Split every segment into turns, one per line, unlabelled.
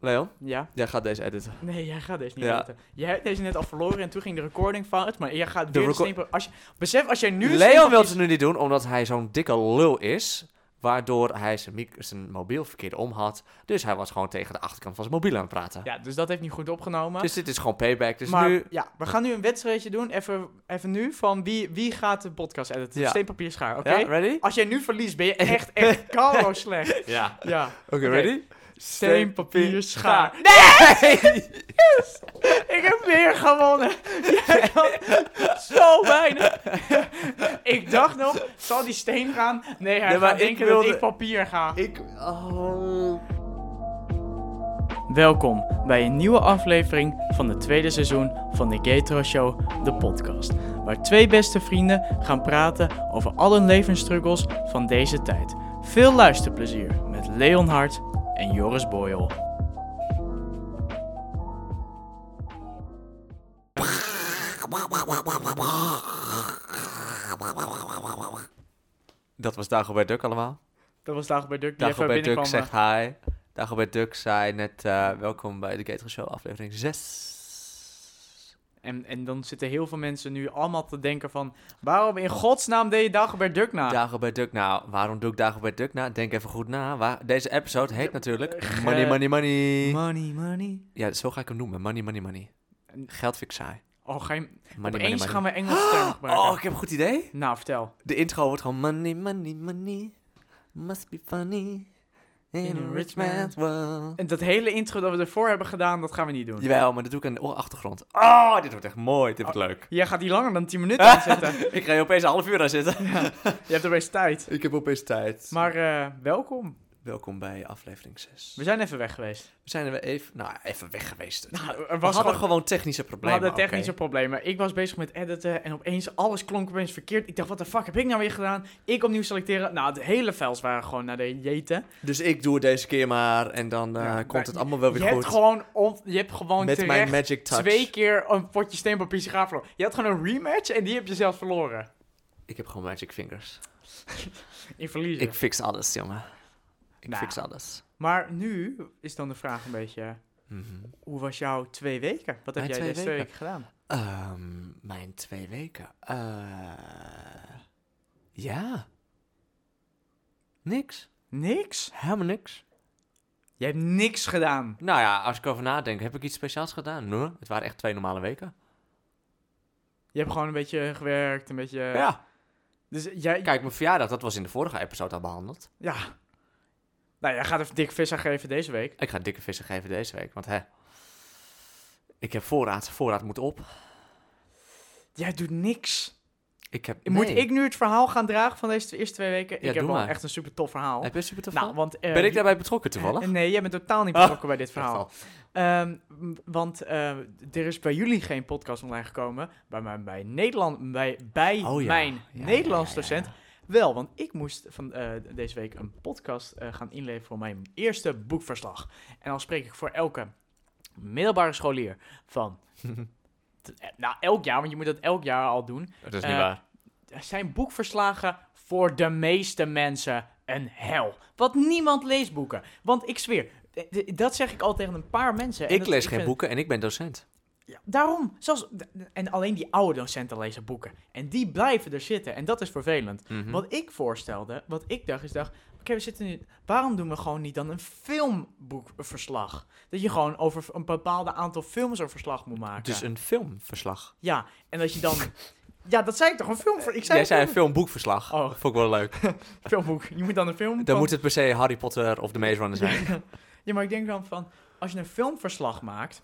Leon,
Ja?
jij gaat deze editen.
Nee, jij gaat deze niet
Ja.
weten. Jij hebt deze net al verloren en toen ging de recording fout. Maar jij gaat
De
weer een
reco-
stemper... Als je, besef, als jij nu een
Leon
steenpak
wil
kiest-
het nu niet doen, omdat hij zo'n dikke lul is. Waardoor hij zijn, mic- zijn mobiel verkeerd om had. Dus hij was gewoon tegen de achterkant van zijn mobiel aan het praten.
Ja, dus dat heeft niet goed opgenomen.
Dus dit is gewoon payback. Dus
maar
nu...
ja, we gaan nu een wedstrijdje doen, even, even nu, van wie, wie gaat de podcast editen.
Ja.
Steenpapier schaar, oké?
Ja, ready?
Als jij nu verliest, ben je echt, echt kalo slecht.
Ja.
Ja.
Oké, ready?
Steen, papier, schaar.
Nee!
Ik heb weer gewonnen. Jij had zo weinig. ik dacht nog, zal die steen gaan? Nee, hij
Nee, maar
gaat
ik
denken dat
wilde-
ik papier ga.
Ik... Oh.
Welkom bij een nieuwe aflevering van het tweede seizoen van de Gatro Show, de podcast. Waar twee beste vrienden gaan praten over al hun levensstruggles van deze tijd. Veel luisterplezier met Leon Hart en Joris Boyel.
Dat was Dagobert Duck allemaal.
Dat was Dagobert Duck die even
Dagobert Duck
binnenkwam. eh.
zegt hi. Dagobert Duck zei net eh, welkom bij de Gator Show aflevering 6.
eh, En, en dan zitten heel veel mensen nu allemaal te denken van... waarom in godsnaam deed je Dagobert Duck na?
Dagobert Duck, nou, waarom doe ik Dagobert Duck na? Denk even goed na. Waar, deze episode heet natuurlijk
Ge-
Money, Money, Money.
Money, money.
Ja, zo ga ik hem noemen. Money, Money, Money.
En-
Geld vind ik saai.
Oh, ga je...
Money,
Opeens
money,
gaan
money.
we Engels termen gebruiken.
Oh, ik heb een goed idee.
Nou, vertel.
De intro wordt gewoon Money, Money, Money. Must be funny. In a rich man's world.
En dat hele intro dat we ervoor hebben gedaan, dat gaan we niet doen.
Jawel, maar dat doe ik aan de achtergrond. Oh, dit wordt echt mooi. Dit wordt leuk.
Jij gaat die langer dan 10 minuten aanzetten.
Ik ga je opeens een half uur aan zitten.
Je hebt opeens tijd.
Ik heb opeens tijd.
Maar eh, welkom.
Welkom bij aflevering 6.
We zijn even weg geweest.
We zijn er even, nou, even weg geweest.
Nou, er
we
was
hadden
gewoon...
gewoon, technische
We
problemen.
hadden technische
oké.
problemen. Ik was bezig met editen en opeens alles klonk opeens verkeerd. Ik dacht, wat de fuck heb ik nou weer gedaan? Ik opnieuw selecteren. Nou, de hele files waren gewoon naar de jeten.
Dus ik doe het deze keer maar en dan eh,
Ja, maar
komt het allemaal wel
Je
weer
hebt
goed.
gewoon, on- je hebt gewoon
Met mijn
terecht
magic touch.
twee keer een potje steenpapier schaar verloren. Je had gewoon een rematch en die heb je zelf verloren.
Ik heb gewoon magic fingers.
In verliezen.
Ik fix alles, jongen. Ik
Nou.
fix alles.
Maar nu is dan de vraag een beetje,
Mhm.
hoe was jouw twee weken? Wat
Mijn
heb jij
twee
deze twee
weken?
weken gedaan?
Ehm, mijn twee weken. Eh, ja. Niks.
Niks?
Helemaal niks.
Je hebt niks gedaan.
Nou ja, als ik erover nadenk, heb ik iets speciaals gedaan? Nee, het waren echt twee normale weken.
Je hebt gewoon een beetje gewerkt, een beetje...
ja.
Dus jij...
Kijk, mijn verjaardag, dat was in de vorige episode al behandeld.
Ja. Nou, jij gaat even dik vis aan geven deze week.
Ik ga dikke vissen geven deze week, want hè. Ik heb voorraad, voorraad moet op.
Jij doet niks.
Ik heb.
Moet
nee.
ik nu het verhaal gaan dragen van deze eerste twee weken?
Ja,
ik heb
doe
wel
maar.
echt een super tof verhaal.
Heb je super toeval?
Nou, want, eh,
ben ik
die-
daarbij betrokken toevallig?
Eh, Nee, jij bent totaal niet
Ah,
betrokken bij dit
Echt wel.
verhaal. Ehm, m- want eh, er is bij jullie geen podcast online gekomen. Bij, mijn, bij, Nederland, bij, bij
Oh ja,
mijn
ja, ja,
Nederlands
ja, ja,
docent wel. Want ik moest van eh, deze week een podcast eh, gaan inleveren voor mijn eerste boekverslag. En dan spreek ik voor elke middelbare scholier van... t- eh, nou, elk jaar, want je moet dat elk jaar al doen.
Dat is
Eh,
niet waar.
Zijn boekverslagen voor de meeste mensen een hel. Want niemand leest boeken. Want ik zweer, d- d- dat zeg ik al tegen een paar mensen. En
Ik
dat-
lees geen
vind-
boeken en ik ben docent.
Ja, daarom. Zelfs, d- d- en alleen die oude docenten lezen boeken. En die blijven er zitten. En dat is vervelend.
Mhm.
Wat ik voorstelde, wat ik dacht, is dacht... Oké, we zitten nu... Waarom doen we gewoon niet dan een filmboekverslag? Dat je gewoon over een bepaalde aantal films een verslag moet maken.
Dus een filmverslag.
Ja, en dat je dan... Ja, dat zei ik toch, een film... Ik zei
Jij
een
zei een
film-
filmboekverslag.
Oh.
Vond ik wel leuk.
filmboek. Je moet dan een film...
Dan
van-
moet het per se Harry Potter of The Maze Runner zijn.
Ja, maar ik denk dan van, als je een filmverslag maakt,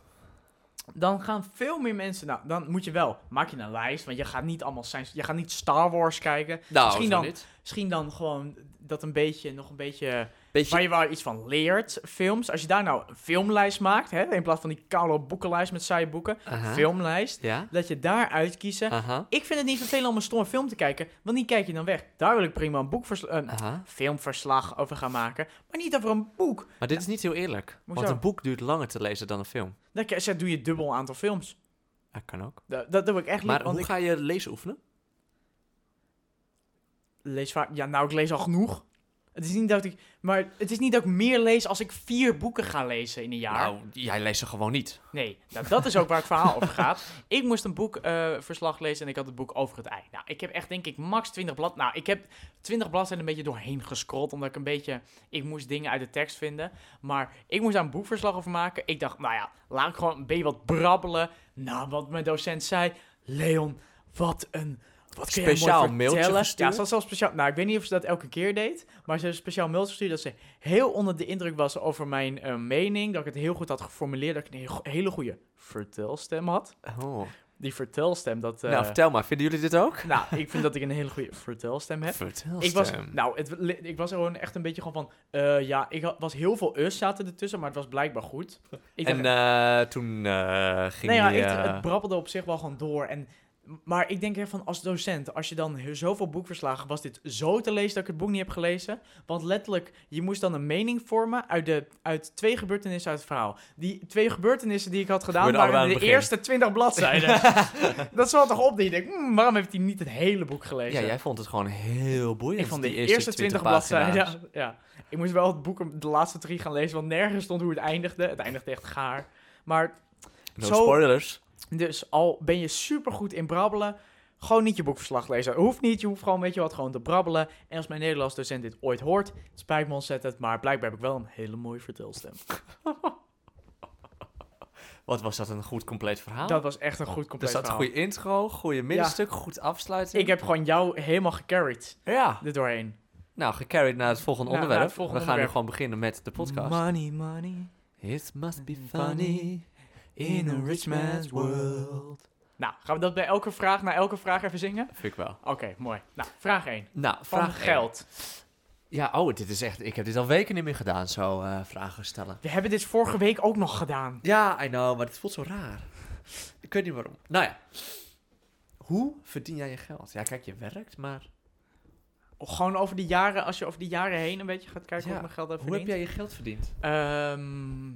dan gaan veel meer mensen, nou, dan moet je wel, maak je een lijst, want je gaat niet allemaal zijn, je gaat niet Star Wars kijken.
Nou,
Misschien
zo
dan.
niet.
Misschien dan gewoon dat een beetje, nog een beetje,
Beetje,
waar je wel iets van leert, films. Als je daar nou een filmlijst maakt, hè, in plaats van die koude boekenlijst met saaie boeken,
Aha.
filmlijst,
Ja?
dat je daar uitkiezen.
Aha.
Ik vind het niet vervelend om een stomme film te kijken, want die kijk je dan weg. Daar wil ik prima een boekversla- een
Aha.
filmverslag over gaan maken, maar niet over een boek.
Maar dit is niet heel eerlijk.
Hoezo?
Want een boek duurt langer te lezen dan een film.
Dan k- zet- doe je dubbel aantal films.
Dat kan ook.
Da- Dat, doe ik echt niet,
Maar
want
hoe
ik
ga je lezen oefenen?
lees vaak... Ja, nou, ik lees al genoeg. Het is niet dat ik, maar het is niet dat ik meer lees als ik vier boeken ga lezen in een jaar.
Nou, jij leest ze gewoon niet.
Nee, nou, dat is ook waar het verhaal over gaat. Ik moest een boekverslag lezen en ik had het boek over het ei. Nou, ik heb echt denk ik max 20 blad. Nou, ik heb 20 bladzijden een beetje doorheen gescrolld, omdat ik een beetje... Ik moest dingen uit de tekst vinden. Maar ik moest daar een boekverslag over maken. Ik dacht, nou ja, laat ik gewoon een beetje wat brabbelen. Nou, wat mijn docent zei. Leon, wat een... Wat kun jij mooi
Speciaal mailtje
vertellen.
verstuurd?
Ja, ze had zelfs speciaal... Nou, ik weet niet of ze dat elke keer deed. Maar ze heeft een speciaal mailtje gestuurd dat ze heel onder de indruk was over mijn eh, mening. Dat ik het heel goed had geformuleerd. Dat ik een heel- hele goede vertelstem had.
Oh.
Die vertelstem, dat... eh,
nou, vertel maar, vinden jullie dit ook?
nou, ik vind dat ik een hele goede vertelstem heb.
Vertel
Ik was,
Stem.
nou, het, li- ik was er gewoon echt een beetje gewoon van... eh, ja, ik had- was heel veel us zaten ertussen, maar het was blijkbaar goed. Ik dacht-
En eh, toen eh, ging
nee, ja,
je...
ik-
eh,
het brabbelde op zich wel gewoon door. En, maar ik denk ervan, als docent, als je dan heel- zoveel boekverslagen... was dit zo te lezen dat ik het boek niet heb gelezen. Want letterlijk, je moest dan een mening vormen... uit, de, uit twee gebeurtenissen uit het verhaal. Die twee gebeurtenissen die ik had gedaan...
Gebeurde
waren
allemaal
de
aan het begin.
eerste twintig bladzijden. dat zal toch op die je denkt... "Hmm, waarom heeft hij niet het hele boek gelezen?
ja, jij vond het gewoon heel boeiend.
Ik vond de
die
eerste 20 bladzijden.
pagina's.
Ja, ja. Ik moest wel het boek, de laatste drie gaan lezen, want nergens stond hoe het eindigde. Het eindigde echt gaar. Maar
No
Zo-
spoilers.
dus al ben je supergoed in brabbelen, gewoon niet je boekverslag lezen. Hoeft niet, je hoeft gewoon, weet je wat, gewoon te brabbelen. En als mijn Nederlands docent dit ooit hoort, het spijt me ontzettend, maar blijkbaar heb ik wel een hele mooie vertelstem.
Wat was dat, een goed compleet verhaal?
Dat was echt een goed
er
compleet
zat Dus een
verhaal.
goede intro, goede middenstuk, goed afsluiting.
Ik heb gewoon jou helemaal gecarried
Ja,
er doorheen.
nou, gecarried naar het volgende
Ja, Nou, naar
onderwerp.
het volgende
We gaan nu
onderwerp.
gewoon beginnen met de podcast.
Money, money.
It must be funny in a rich man's world.
Nou, gaan we dat bij elke vraag, na elke vraag even zingen?
Vind ik wel.
Oké, mooi. Nou, vraag 1.
Nou,
Van
vraag één.
geld.
Ja, oh, dit is echt... Ik heb dit al weken niet meer gedaan, zo eh, vragen stellen.
We hebben dit vorige week ook nog gedaan.
Ja, I know, maar het voelt zo raar. Ik weet niet waarom. Nou ja. Hoe verdien jij je geld? Ja, kijk, je werkt, maar
Gewoon over de jaren, als je over de jaren heen een beetje gaat kijken
Ja,
hoe ik mijn geld heb
hoe heb
verdiend.
jij je geld verdiend?
Ehm,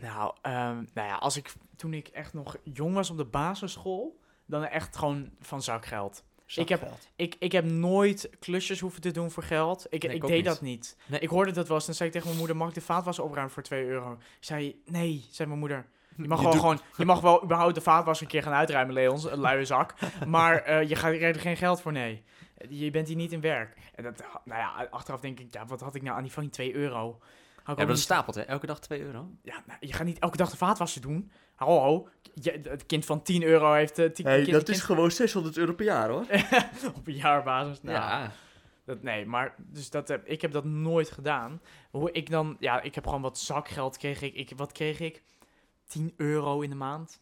nou, ehm, nou ja, als ik, toen ik echt nog jong was op de basisschool, dan echt gewoon van zakgeld. heb-
Zakgeld.
Ik, ik heb nooit klusjes hoeven te doen voor geld. Ik,
Nee, ik
ik,
ook
deed
niet.
dat niet.
Nee.
Ik hoorde dat wel eens, dan zei ik tegen mijn moeder, mag ik de vaatwas opruimen voor 2 euro? Ik zei, nee, zei mijn moeder. Je mag, wel,
doet-
gewoon, je mag wel überhaupt de vaatwas een keer gaan uitruimen, Leons, een luie zak. Maar eh, je gaat, je krijgt er geen geld voor, nee. Je bent hier niet in werk. En dat, nou ja, achteraf denk ik, ja, wat had ik nou aan die fucking 2 euro? Had ik ook
Ja, maar dat
niet-
stapelt, hè? Elke dag 2 euro.
ja, nou, je gaat niet elke dag de vaatwassen doen. Hallo, je, het kind van 10 euro heeft... eh, 10 kind- kind-
gewoon 600 euro per jaar, hoor.
Op een jaarbasis. Nou,
Ja.
Dat, nee, maar dus dat, heb ik heb dat nooit gedaan. Hoe ik dan, ja, ik heb gewoon wat zakgeld kreeg ik. ik wat kreeg ik? 10 euro in de maand?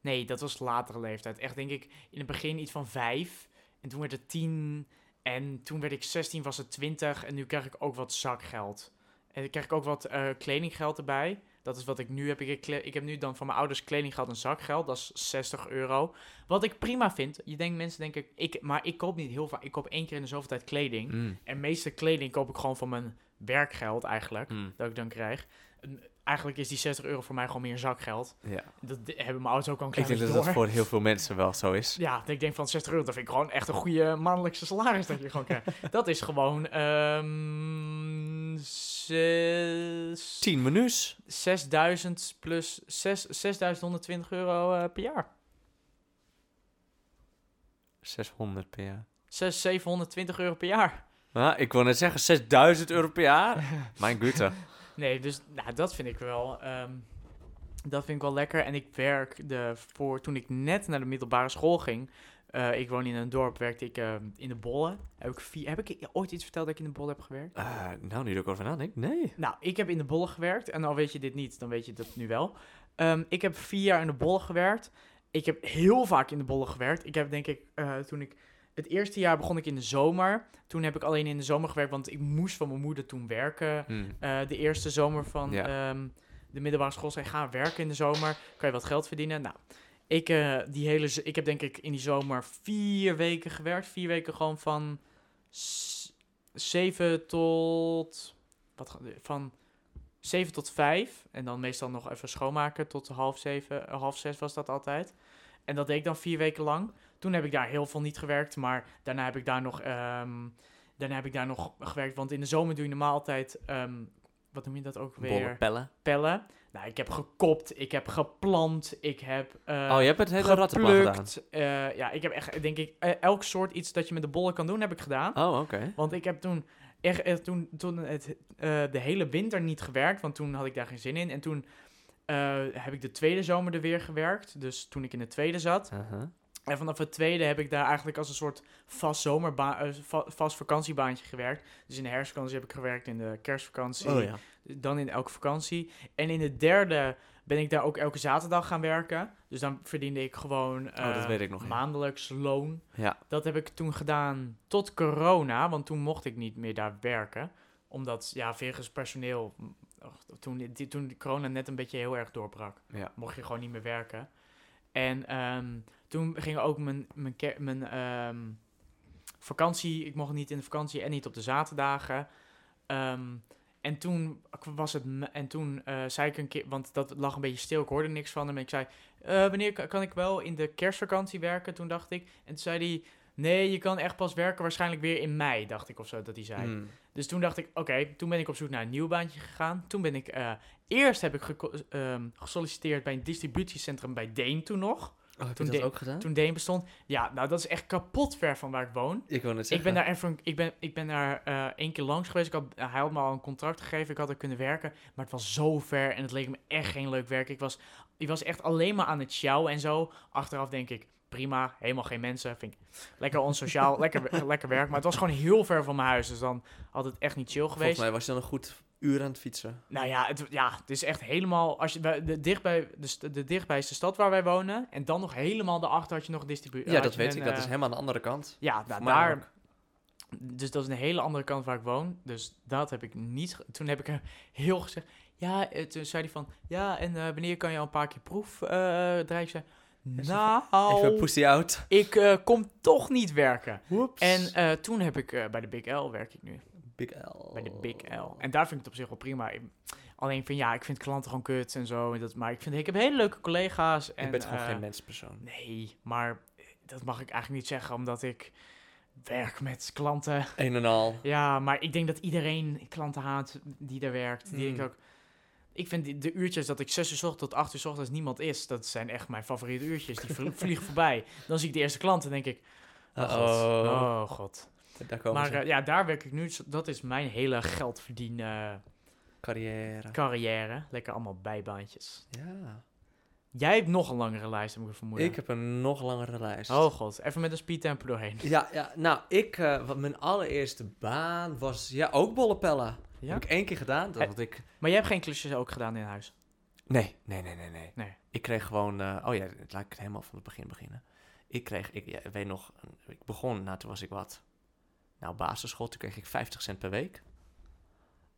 Nee, dat was latere leeftijd. Echt denk ik in het begin iets van 5. En toen werd het 10. En toen werd ik 16, was het 20. En nu krijg ik ook wat zakgeld. En dan krijg ik ook wat eh, kledinggeld erbij. Dat is wat ik nu heb. Ik, heb kle- ik heb nu dan van mijn ouders kledinggeld en zakgeld. Dat is 60 euro. Wat ik prima vind, je denkt mensen denken, ik, maar ik koop niet heel vaak. Ik koop één keer in de zoveel tijd kleding.
Mm,
En meeste kleding koop ik gewoon van mijn werkgeld eigenlijk,
mm,
dat ik dan krijg. En eigenlijk is die 60 euro voor mij gewoon meer zakgeld.
ja.
Dat de- hebben mijn ouders ook al een
Ik
klein
denk dat
beetje
dat
door.
voor heel veel mensen wel zo is.
Ja, dat ik denk van 60 euro, dat vind ik gewoon echt een goede maandelijkse salaris dat je gewoon krijgt. Dat is gewoon ehm zes-
10 menus.
6000 plus zes- 6120 euro eh, per jaar.
600 per jaar.
6, 720 euro per jaar.
Nou, ik wil net zeggen, 6000 euro per jaar? Mijn gutte.
Nee, dus nou, dat vind ik wel. ehm, dat vind ik wel lekker. En ik werkte voor toen ik net naar de middelbare school ging. eh, ik woon in een dorp, werkte ik ehm, in de Bollen. Heb ik, vier, heb ik ooit iets verteld dat ik in de Bollen heb gewerkt?
Eh, nou, nu dat ik over nadenk, nee.
Nou, ik heb in de Bollen gewerkt. En al weet je dit niet, dan weet je dat nu wel. Ehm, ik heb vier jaar in de Bollen gewerkt. Ik heb heel vaak in de Bollen gewerkt. Ik heb denk ik, eh, toen ik... Het eerste jaar begon ik in de zomer. Toen heb ik alleen in de zomer gewerkt, want ik moest van mijn moeder toen werken.
Mm.
Eh, de eerste zomer van
Ja.
ehm, de middelbare school zei: ga werken in de zomer, kan je wat geld verdienen. Nou, ik, eh, die hele, z- ik heb denk ik in die zomer vier weken gewerkt. Vier weken gewoon van s- zeven tot. Wat, ga- van zeven tot vijf. En dan meestal nog even schoonmaken tot half zeven, eh, half zes was dat altijd. En dat deed ik dan vier weken lang. Toen heb ik daar heel veel niet gewerkt, maar daarna heb ik daar nog ehm, Daarna heb ik daar nog gewerkt, want in de zomer doe je normaal altijd, ehm, wat noem je dat ook
Bolle
weer?
pellen.
Pellen. Nou, ik heb gekopt, ik heb geplant, ik heb... eh,
oh, je hebt het hele rattenplan gedaan.
geplukt. Eh, ja, ik heb echt, denk ik, eh, elk soort iets dat je met de bollen kan doen, heb ik gedaan.
Oh, oké.
Want ik heb toen echt, echt toen, toen het, eh, de hele winter niet gewerkt, want toen had ik daar geen zin in. En toen eh, heb ik de tweede zomer er weer gewerkt, dus toen ik in de tweede zat.
Aha.
En vanaf het tweede heb ik daar eigenlijk als een soort vast, zomerba- eh, va- vast vakantiebaantje gewerkt. Dus in de herfstvakantie heb ik gewerkt, in de kerstvakantie,
Oh ja.
dan in elke vakantie. En in de derde ben ik daar ook elke zaterdag gaan werken. Dus dan verdiende ik gewoon
Oh, dat
eh,
weet ik nog, ja.
maandelijks loon.
Ja.
Dat heb ik toen gedaan tot corona, want toen mocht ik niet meer daar werken. Omdat, ja, Vegas personeel, mm, och, toen, die, toen corona net een beetje heel erg doorbrak,
Ja.
mocht je gewoon niet meer werken. En ehm, toen ging ook mijn, mijn, ke- mijn ehm, vakantie, ik mocht niet in de vakantie en niet op de zaterdagen. Ehm, en toen was het. me- En toen eh, zei ik een keer. Want dat lag een beetje stil. Ik hoorde niks van hem. En ik zei. "Eh, wanneer ka- kan ik wel in de kerstvakantie werken? Toen dacht ik. En toen zei hij. Nee, je kan echt pas werken waarschijnlijk weer in mei. Dacht ik of zo dat hij zei.
Mm.
Dus toen dacht ik, oké, toen ben ik op zoek naar een nieuw baantje gegaan. Toen ben ik, eh, eerst heb ik geco- ehm, gesolliciteerd bij een distributiecentrum bij Deen toen nog.
Oh, heb
Toen
je
deed-
dat ook gedaan?
Toen Deen bestond. Ja, nou dat is echt kapot ver van waar ik woon.
Ik wil net
Ik
zeggen.
ben daar even, ik ben, ik ben daar eh, één keer langs geweest. Ik had, hij had me al een contract gegeven. Ik had er kunnen werken. Maar het was zo ver en het leek me echt geen leuk werk. Ik was, ik was echt alleen maar aan het sjouwen en zo. Achteraf denk ik, prima, helemaal geen mensen. Vind ik lekker onsociaal, lekker, lekker werk. Maar het was gewoon heel ver van mijn huis. Dus dan had het echt niet chill
Volgens
geweest.
mij was je dan een goed uur aan het fietsen.
Nou ja het, ja, het is echt helemaal. Als je bij de, dichtbij, de, st- de dichtbijste stad waar wij wonen. En dan nog helemaal daarachter had je nog een eh, distributie.
Ja, dat weet ik. dat is helemaal aan de andere kant.
Ja, nou,
Voor mij
daar,
ook.
dus dat is een hele andere kant waar ik woon. Dus dat heb ik niet. ge- Toen heb ik hem heel gezegd. Ja, eh, toen zei hij van. Ja, en eh, wanneer kan je al een paar keer proef eh draaien? Ik zei,
Even
Nou,
pussy out.
ik eh, kom toch niet werken.
Whoops.
En eh, toen heb ik eh, bij de Big L werk ik nu.
Big L.
Bij de Big
Oh.
L. En daar vind ik het op zich wel prima. Ik- Alleen van ja, ik vind klanten gewoon kut en zo. En dat, maar ik, vind, ik heb hele leuke collega's. En,
je bent gewoon
eh,
geen menspersoon.
Nee, maar eh, dat mag ik eigenlijk niet zeggen, omdat ik werk met klanten.
Een en al.
Ja, maar ik denk dat iedereen klanten haat die daar werkt. Die
Hmm.
ik, ook, ik vind die- de uurtjes dat ik 6 uur 's ochtends tot 8 uur 's ochtends niemand is, dat zijn echt mijn favoriete uurtjes. Die vlie- vliegen voorbij. Dan zie ik de eerste klant en denk ik, oh god.
Uh-oh.
Oh, god.
Daar komen
Maar
ze.
eh, ja, daar werk ik nu. Dus Dat is mijn hele geldverdienen
Carrière.
carrière. Lekker allemaal bijbaantjes.
Ja.
Jij hebt nog een langere lijst, heb ik vermoeden.
Ik heb een nog langere lijst.
Oh god, even met een speedtempo doorheen.
Ja, ja, nou, ik, eh, wat mijn allereerste baan was, ja, ook bollenpellen.
Ja?
Heb ik één keer gedaan, dat
Eh.
had ik...
Maar jij hebt geen klusjes ook gedaan in huis.
Nee, nee, nee, nee, nee.
Nee.
Ik kreeg gewoon, eh, oh ja, laat ik het helemaal van het begin beginnen. Ik kreeg, ik ja, ik weet nog, ik begon, nou, toen was ik wat, nou, basisschool, toen kreeg ik 50 cent per week.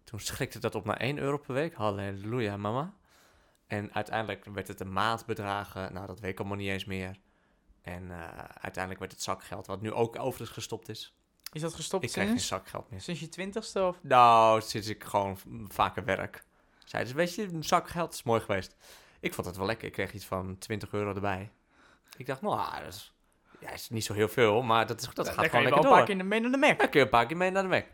Toen schrikte dat op naar 1 euro per week, halleluja, mama. En uiteindelijk werd het een maandbedragen, nou, dat weet ik allemaal niet eens meer. En eh, uiteindelijk werd het zakgeld, wat nu ook overigens gestopt is.
Is dat gestopt
Ik krijg geen
sinds,
zakgeld meer.
sinds je twintigste? Of?
Nou, sinds ik gewoon v- vaker werk. Zeiden ze, weet je, een zak geld is mooi geweest. Ik vond het wel lekker. Ik kreeg iets van 20 euro erbij. Ik dacht, nou, ah, dat is, ja, is niet zo heel veel, maar dat, is, dat gaat
Daar kan
gewoon
je
lekker
wel
door.
een paar keer mee naar de Mac.
Dan kun je een paar keer mee naar de Mac.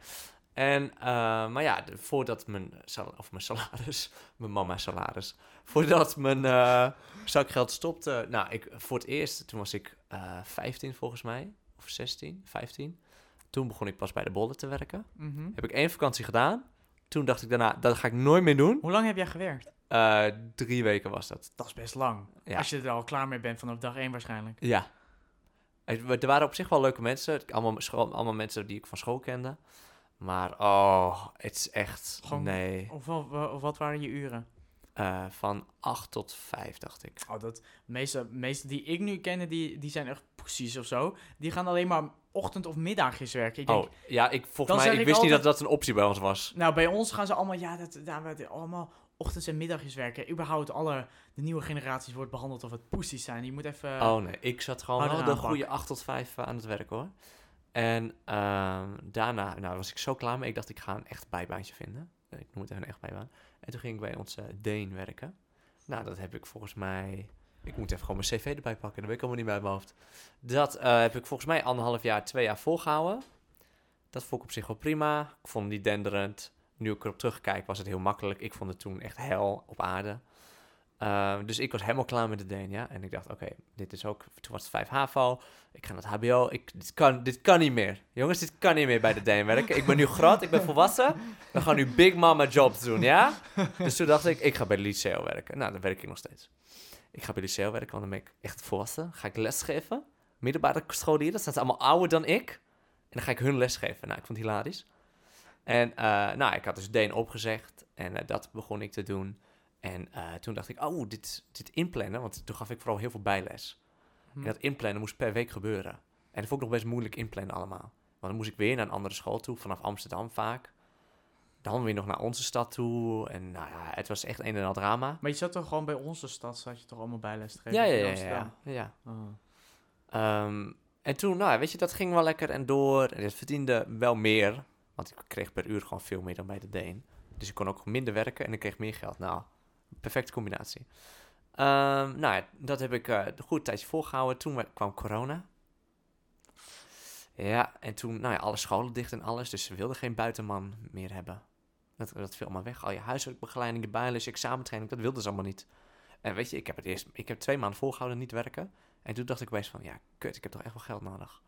En, eh, maar ja, de- voordat mijn, sal- of mijn salaris, mijn mama's salaris, voordat mijn eh, zakgeld stopte. Nou, ik, voor het eerst, toen was ik eh 15 volgens mij, of 16, 15. Toen begon ik pas bij de bollen te werken.
Mhm.
Heb ik één vakantie gedaan. Toen dacht ik daarna, dat ga ik nooit meer doen.
Hoe lang heb jij gewerkt?
Eh, drie weken was dat.
Dat is best lang.
Ja.
Als je er al klaar mee bent vanaf dag 1 waarschijnlijk.
Ja. Het- we- Er waren op zich wel leuke mensen. Allemaal, scho- allemaal mensen die ik van school kende. Maar oh, het is echt...
Gewoon-
Nee.
Of, wa- wa- of wat waren je uren?
Eh, van 8 tot 5, dacht ik.
Oh, dat meeste, meeste die ik nu ken, die, die zijn echt precies of zo. Die gaan alleen maar ochtend of middagjes werken. Ik denk,
Oh, ja, ik,
Dan
volgens mij...
zeg
Ik,
ik
wist niet dat
altijd-
dat een optie bij ons was.
Nou, bij ons gaan ze allemaal, ja, dat, daar werd allemaal ochtends en middagjes werken. Überhaupt alle, de nieuwe generaties wordt behandeld of het poesies zijn. Je moet even...
Oh nee, ik zat gewoon
harde
wel de
eh, aanpak.
goede 8 tot 5 aan het werk, hoor. En ehm, daarna nou, was ik zo klaar mee. Ik dacht, ik ga een echt bijbaantje vinden. Eh, Ik noem het even een echt bijbaan. En toen ging ik bij onze Deen werken. Nou, dat heb ik volgens mij... Ik moet even gewoon mijn cv erbij pakken. Dat weet ik allemaal niet bij mijn hoofd. Dat eh, heb ik volgens mij anderhalf jaar, twee jaar volgehouden. Dat vond ik op zich wel prima. Ik vond hem niet denderend. Nu ik erop terugkijk, was het heel makkelijk. Ik vond het toen echt hel op aarde. Eh, dus ik was helemaal klaar met de Denia. En ik dacht, oké, dit is ook... Toen was het 5 HAVO. Ik ga naar het HBO. Ik, dit, kan, dit kan niet meer. Jongens, dit kan niet meer bij de Deen werken. Ik ben nu groot, ik ben volwassen. We gaan nu big mama jobs doen, ja? Dus toen dacht ik, ik ga bij de Liceo werken. Nou, dan werk ik nog steeds. Ik ga bij de Liceo werken, want dan ben ik echt volwassen. Ga ik lesgeven. Middelbare scholieren, dat zijn ze allemaal ouder dan ik. En dan ga ik hun les geven. Nou, ik vond het hilarisch. En eh, nou, ik had dus Deen opgezegd. En eh, dat begon ik te doen. En eh, toen dacht ik, oh, dit, dit inplannen. Want toen gaf ik vooral heel veel bijles.
Hm.
En dat inplannen moest per week gebeuren. En dat vond ik nog best moeilijk inplannen allemaal. Want dan moest ik weer naar een andere school toe, vanaf Amsterdam vaak. Dan weer nog naar onze stad toe. En nou ja, het was echt een en al drama.
Maar je zat toch gewoon bij onze stad, zat je toch allemaal bijles te geven?
Ja, ja,
in
ja. Ah. ja,
Amsterdam?
ja. ja.
Oh.
Ehm, en toen, nou, weet je, dat ging wel lekker en door. En het verdiende wel meer. Want ik kreeg per uur gewoon veel meer dan bij de Deen. Dus ik kon ook minder werken en ik kreeg meer geld. Nou, perfecte combinatie. Ehm, nou, ja, dat heb ik eh, een goed tijdje volgehouden. Toen we- kwam corona. Ja, en toen, nou ja, alle scholen dicht en alles. Dus ze wilden geen buitenman meer hebben. Dat, dat viel allemaal weg. Al je huiswerkbegeleiding, je bijles, je examentraining, dat wilden ze allemaal niet. En weet je, ik heb het eerst, ik heb twee maanden volgehouden niet werken. En toen dacht ik opeens van, ja, kut, ik heb toch echt wel geld nodig.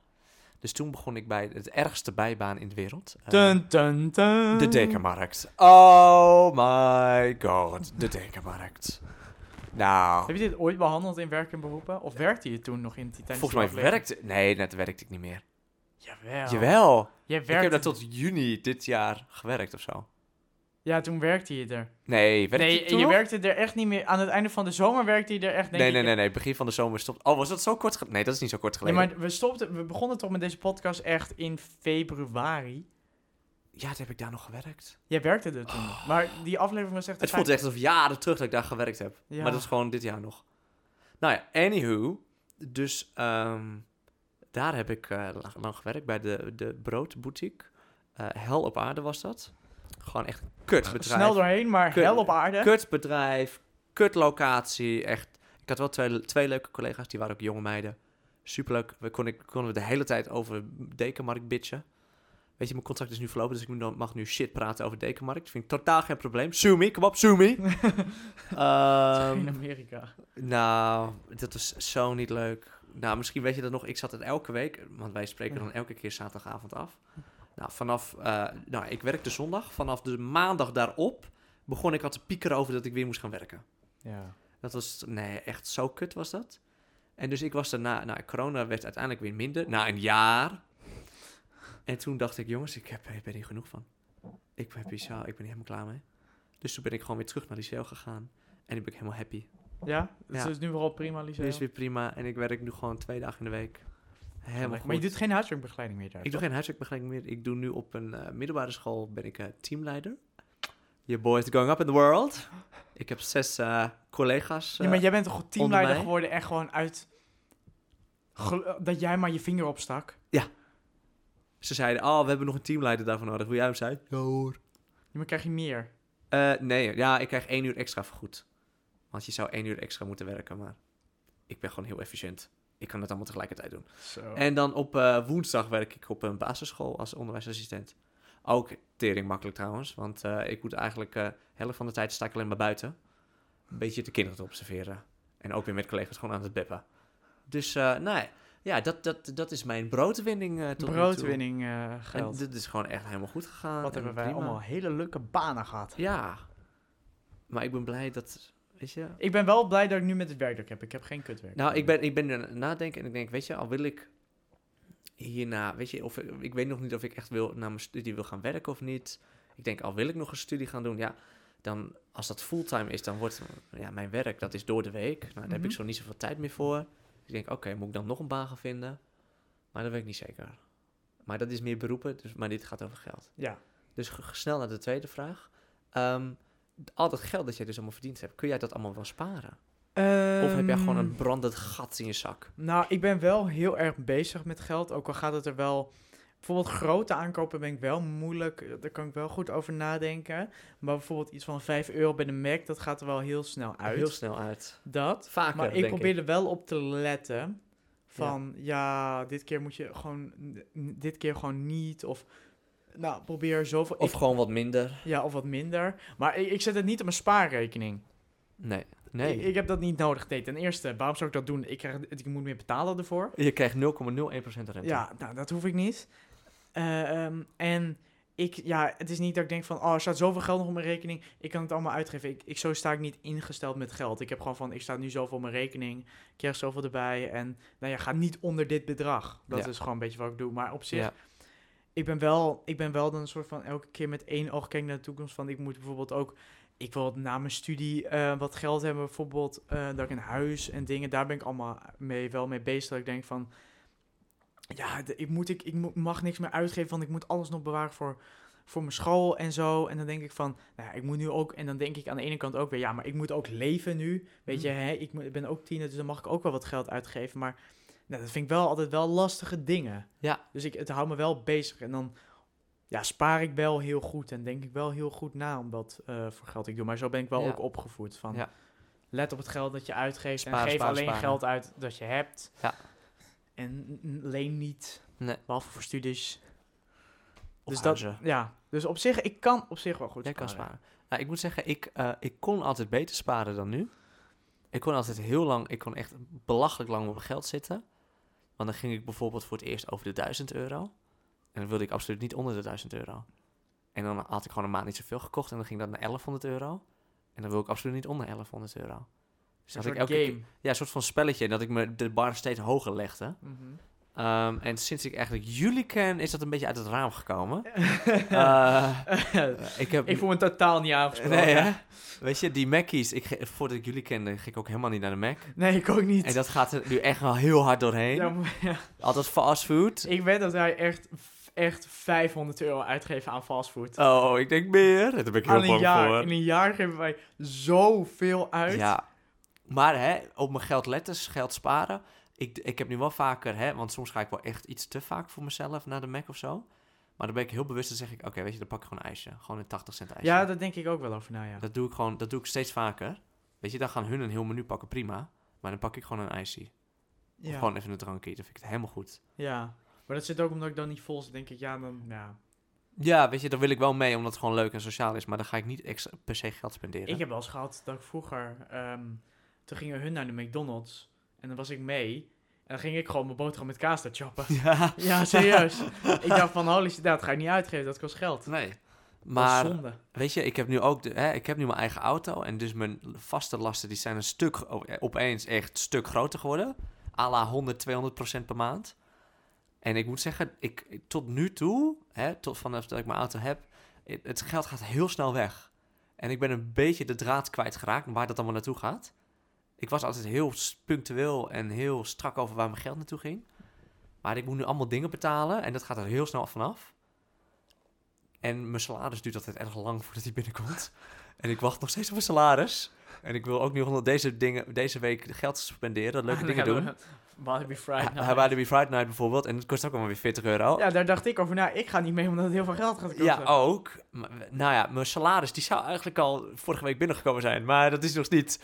Dus toen begon ik bij het ergste bijbaan in de wereld. eh,
Dun, dun, dun.
de dekenmarkt. Oh my god, de dekenmarkt. Nou,
Heb je dit ooit behandeld in werk en beroepen? Of werkte je toen nog in die tijdens
volgens
die
mij
aflevering?
werkte... Nee, net werkte ik niet meer.
Jawel.
Jawel.
Jij
Ik heb
werkte-
daar tot juni dit jaar gewerkt of zo.
Ja, toen werkte je er.
Nee, werkte
nee,
ik toen
je
nog?
werkte er echt niet meer. Aan het einde van de zomer werkte je er echt. Denk
Nee,
ik,
nee, nee, nee, begin van de zomer stopt. Oh, was dat zo kort geleden? Nee, dat is niet zo kort
Nee,
geleden.
maar we stopten. We begonnen toch met deze podcast echt in februari.
Ja, toen heb ik daar nog gewerkt.
Jij werkte er toen. nog. Maar die aflevering was echt.
Het
de
voelt
vijf-
echt alsof jaren terug dat ik daar gewerkt heb.
Ja.
Maar dat is gewoon dit jaar nog. Nou ja, anywho. Dus ehm, daar heb ik eh, la- lang gewerkt bij de, de broodboutique. Eh, hel op aarde was dat. Gewoon echt een kutbedrijf.
Snel doorheen, maar
Kut-
hel op aarde.
Kutbedrijf, kutlocatie. Echt. Ik had wel twee, twee leuke collega's, die waren ook jonge meiden. Superleuk. We kon, ik, konden we de hele tijd over dekenmarkt bitchen. Weet je, mijn contract is nu verlopen, dus ik moet- mag nu shit praten over dekenmarkt. Vind ik totaal geen probleem. Sue me, kom op, sue me. Ehm,
in Amerika.
nou, dat was zo niet leuk. Nou, misschien weet je dat nog. Ik zat het elke week, want wij spreken dan elke keer zaterdagavond af. Nou, vanaf, eh, nou, ik werkte zondag. Vanaf de maandag daarop begon ik al te piekeren over dat ik weer moest gaan werken.
Ja.
Dat was, nee, echt zo kut was dat. En dus ik was daarna, nou, corona werd uiteindelijk weer minder. Na een jaar. En toen dacht ik, jongens, ik, heb, ik ben hier genoeg van. Ik ben bizar, ik ben hier helemaal klaar mee. Dus toen ben ik gewoon weer terug naar Liceo gegaan. En nu ben ik helemaal happy.
Ja? Dus
Ja.
het is nu vooral prima, Lisa.
Dit is weer prima en ik werk nu gewoon twee dagen in de week. Helemaal goed.
Maar je doet geen huiswerkbegeleiding meer daar.
Ik doe geen huiswerkbegeleiding meer. Ik doe nu op een eh, middelbare school ben ik eh, teamleider. Your boy is going up in the world. Ik heb zes eh, collega's.
Ja, maar
eh,
jij bent toch teamleider
mij?
geworden echt gewoon uit... gel- dat jij maar je vinger opstak.
Ze zeiden, oh, we hebben nog een teamleider daarvoor nodig. Wil jij hem zijn? Ja hoor.
Ja, maar krijg je meer.
Eh, nee, ja, ik krijg één uur extra vergoed. Want je zou één uur extra moeten werken, maar ik ben gewoon heel efficiënt. Ik kan het allemaal tegelijkertijd doen.
Zo.
En dan op eh, woensdag werk ik op een basisschool als onderwijsassistent. Ook tering makkelijk trouwens, want eh, ik moet eigenlijk eh, de helft van de tijd sta ik alleen maar buiten. Een beetje de kinderen te observeren. En ook weer met collega's gewoon aan het beppen. Dus eh nee, ja, dat, dat, dat is mijn broodwinning eh, tot nu
Broodwinning eh,
toe. En
geld.
dit is gewoon echt helemaal goed gegaan. en
Wat hebben wij
prima.
allemaal hele leuke banen gehad.
Ja, maar ik ben blij dat, weet je,
Ik ben wel blij dat ik nu met het werkdruk heb. Ik heb geen kutwerk.
Nou, ik ben, ik ben nu aan het nadenken en ik denk, weet je, al wil ik hierna, weet je, of ik, ik weet nog niet of ik echt wil naar mijn studie wil gaan werken of niet. Ik denk, al wil ik nog een studie gaan doen, ja, dan als dat fulltime is, dan wordt ja, mijn werk, dat is door de week. Nou, daar heb ik
Mhm.
zo niet zoveel tijd meer voor. Dus ik denk, oké, moet ik dan nog een baan gaan vinden? Maar dat weet ik niet zeker. Maar dat is meer beroepen, dus, maar dit gaat over geld.
Ja.
Dus g- snel naar de tweede vraag. Ehm, al dat geld dat jij dus allemaal verdiend hebt, kun jij dat allemaal wel sparen? Of heb jij gewoon een
Ehm,
brandend gat in je zak?
Nou, ik ben wel heel erg bezig met geld. Ook al gaat het er wel. Bijvoorbeeld grote aankopen ben ik wel moeilijk. eh, Daar kan ik wel goed over nadenken. Maar bijvoorbeeld iets van 5 euro bij de Mac, dat gaat er wel heel snel uit.
Heel snel uit.
Dat.
Vaker,
Maar ik
denk
probeer er wel op te letten. Van ja. dit keer moet je gewoon. n- Dit keer gewoon niet. Of nou, probeer zoveel...
Of
ik-
gewoon wat minder.
ja, of wat minder. Maar ik, ik zet het niet op mijn spaarrekening.
Nee. Nee.
Ik, ik heb dat niet nodig. Nee, ten eerste, waarom zou ik dat doen? Ik, krijg, ik moet meer betalen ervoor.
Je krijgt 0,01% rente.
Ja, nou, dat hoef ik niet. Eh, ehm, en ik, ja, het is niet dat ik denk van, oh, er staat zoveel geld nog op mijn rekening. Ik kan het allemaal uitgeven. Ik, ik, zo sta ik niet ingesteld met geld. Ik heb gewoon van, ik sta nu zoveel op mijn rekening. Ik krijg zoveel erbij. En nou ja, ga niet onder dit bedrag. Dat
Ja.
is gewoon een beetje wat ik doe. Maar op zich,
Ja.
ik ben wel, ik ben wel dan een soort van elke keer met één oog kijk naar de toekomst. Van ik moet bijvoorbeeld ook, ik wil na mijn studie eh, wat geld hebben, bijvoorbeeld eh, dat ik een huis en dingen. Daar ben ik allemaal mee, wel mee bezig. Dat ik denk van, ja, de- ik, moet, ik, ik mo- mag niks meer uitgeven, want ik moet alles nog bewaren voor, voor mijn school en zo. En dan denk ik van, nou ja, ik moet nu ook, en dan denk ik aan de ene kant ook weer, ja, maar ik moet ook leven nu. Weet je, hè, ik mo- ben ook tiener, dus dan mag ik ook wel wat geld uitgeven. Maar nou, dat vind ik wel altijd wel lastige dingen.
Ja.
Dus ik, het houdt me wel bezig. En dan ja, spaar ik wel heel goed en denk ik wel heel goed na om wat eh, voor geld ik doe. Maar zo ben ik wel
Ja.
ook opgevoed. Van,
Ja.
Let op het geld dat je uitgeeft en
Sparen,
geef
sparen,
alleen
sparen.
geld uit dat je hebt.
Ja.
En n- leen niet.
Nee.
Behalve voor studies.
Of
dus dat,
huizen.
ja. Dus op zich, ik kan op zich wel goed
Jij kan sparen. Nou, ik moet zeggen, ik, eh, ik kon altijd beter sparen dan nu. Ik kon altijd heel lang, ik kon echt belachelijk lang op mijn geld zitten. Want dan ging ik bijvoorbeeld voor het eerst over de 1000 euro. En dan wilde ik absoluut niet onder de 1000 euro. En dan had ik gewoon een maand niet zoveel gekocht en dan ging dat naar 1100 euro. En dan wil ik absoluut niet onder 1100 euro. Dus dat
Een soort
ik elke
game.
keer- ja, een soort van spelletje. Dat ik me de bar steeds hoger legde.
Mhm.
Ehm, en sinds ik eigenlijk jullie ken, is dat een beetje uit het raam gekomen. Eh, ik heb
ik voel me totaal niet aangesproken.
Nee, hè? Weet je, die Mackies, ik, ge- voordat ik jullie kende, ging ik ook helemaal niet naar de Mac.
Nee, ik ook niet.
En dat gaat er nu echt wel heel hard doorheen.
Ja, maar- ja.
Altijd fastfood.
Ik weet dat hij echt, echt 500 euro uitgeeft aan fastfood.
Oh, ik denk meer. Daar ben ik heel
Al een
bang
jaar.
voor.
In een jaar geven wij zoveel uit.
Ja. Maar hè, op mijn geld letten, geld sparen. Ik, ik heb nu wel vaker, hè, want soms ga ik wel echt iets te vaak voor mezelf naar de Mac of zo. Maar dan ben ik heel bewust en zeg ik, oké, weet je, dan pak ik gewoon een ijsje. Gewoon een 80 cent ijsje.
ja, daar denk ik ook wel over na, ja.
Dat doe ik gewoon, dat doe ik steeds vaker. Weet je, dan gaan hun een heel menu pakken, prima. Maar dan pak ik gewoon een ijsje. Of
ja.
gewoon even een drankje. Dan vind ik het helemaal goed.
Ja, maar dat zit ook omdat ik dan niet vol zit, denk ik, ja, dan, ja.
Ja, weet je, dan wil ik wel mee omdat het gewoon leuk en sociaal is. Maar dan ga ik niet extra per se geld spenderen.
Ik heb wel eens gehad dat ik vroeger, ehm, toen gingen hun naar de McDonald's en dan was ik mee en dan ging ik gewoon mijn boterham met kaas daar choppen.
Ja.
Ja, serieus. ik dacht van, holy shit, dat ga ik niet uitgeven, dat kost geld.
Nee.
dat is
Maar
zonde.
weet je, ik heb nu ook de, hè, ik heb nu mijn eigen auto. En dus mijn vaste lasten die zijn een stuk, gro- eh, opeens echt een stuk groter geworden. À la 100, 200 procent per maand. En ik moet zeggen, ik, ik- tot nu toe, hè, tot vanaf dat ik mijn auto heb, het, het geld gaat heel snel weg. En ik ben een beetje de draad kwijtgeraakt waar dat allemaal naartoe gaat. Ik was altijd heel s- punctueel en heel strak over waar mijn geld naartoe ging. Maar ik moet nu allemaal dingen betalen en dat gaat er heel snel vanaf. En mijn salaris duurt altijd erg lang voordat die binnenkomt. En ik wacht nog steeds op mijn salaris. En ik wil ook nu onder deze, dingen, deze week geld spenderen, leuke
Ah,
dingen
nou,
doen.
Walibi Friday
Hij
night.
Wallaby Friday Night bijvoorbeeld. En dat kost ook allemaal weer 40 euro. Ja,
Ja, daar dacht ik over, nou, ik ga niet mee omdat het heel veel geld gaat kosten.
ook. Maar, nou ja, mijn salaris die zou eigenlijk al vorige week binnengekomen zijn. Maar dat is nog niet.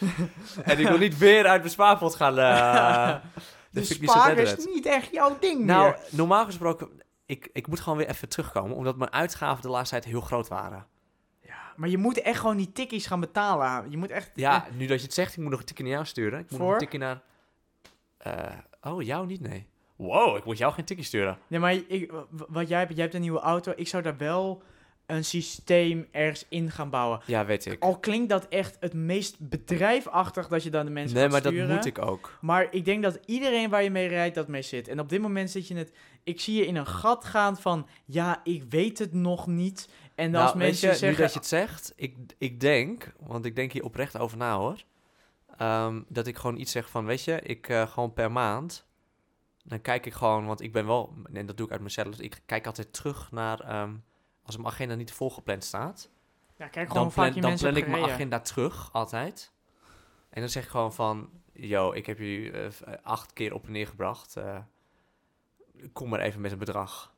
en ik wil niet weer uit mijn spaarpot gaan. eh
dus
vind ik niet zo
sparen is
bederend.
niet echt jouw ding
nou,
meer.
normaal gesproken, ik, ik moet gewoon weer even terugkomen. Omdat mijn uitgaven de laatste tijd heel groot waren.
Ja, maar je moet echt gewoon die tikkies gaan betalen. Je moet echt...
Ja, nu dat je het zegt, ik moet nog een tikje naar jou sturen. Ik moet nog
Voor?
een tikje naar... eh, oh, jou niet? Nee. Wow, ik moet jou geen tikje sturen.
Nee, maar ik, w- wat jij hebt, jij hebt een nieuwe auto. Ik zou daar wel een systeem ergens in gaan bouwen.
Ja, weet ik.
Al klinkt dat echt het meest bedrijfachtig dat je dan de mensen
Nee,
gaat
maar dat
sturen.
moet ik ook.
Maar ik denk dat iedereen waar je mee rijdt, dat mee zit. En op dit moment zit je net... Ik zie je in een gat gaan van... Ja, ik weet het nog niet. En als
Nou, weet
mensen
je,
zeggen...
Nu dat je het zegt, ik, ik denk, want ik denk hier oprecht over na hoor, ehm, dat ik gewoon iets zeg van, weet je, ik eh, gewoon per maand, dan kijk ik gewoon, want ik ben wel, en dat doe ik uit mezelf, ik kijk altijd terug naar, ehm, als mijn agenda niet volgepland staat,
ja, kijk gewoon
dan
hoe vaak
plan,
je
dan
mensen
plan ik
hebt
mijn
gereden.
agenda terug, altijd. En dan zeg ik gewoon van, yo, ik heb je eh, v- eh, acht keer op en neer gebracht. eh, kom maar even met een bedrag.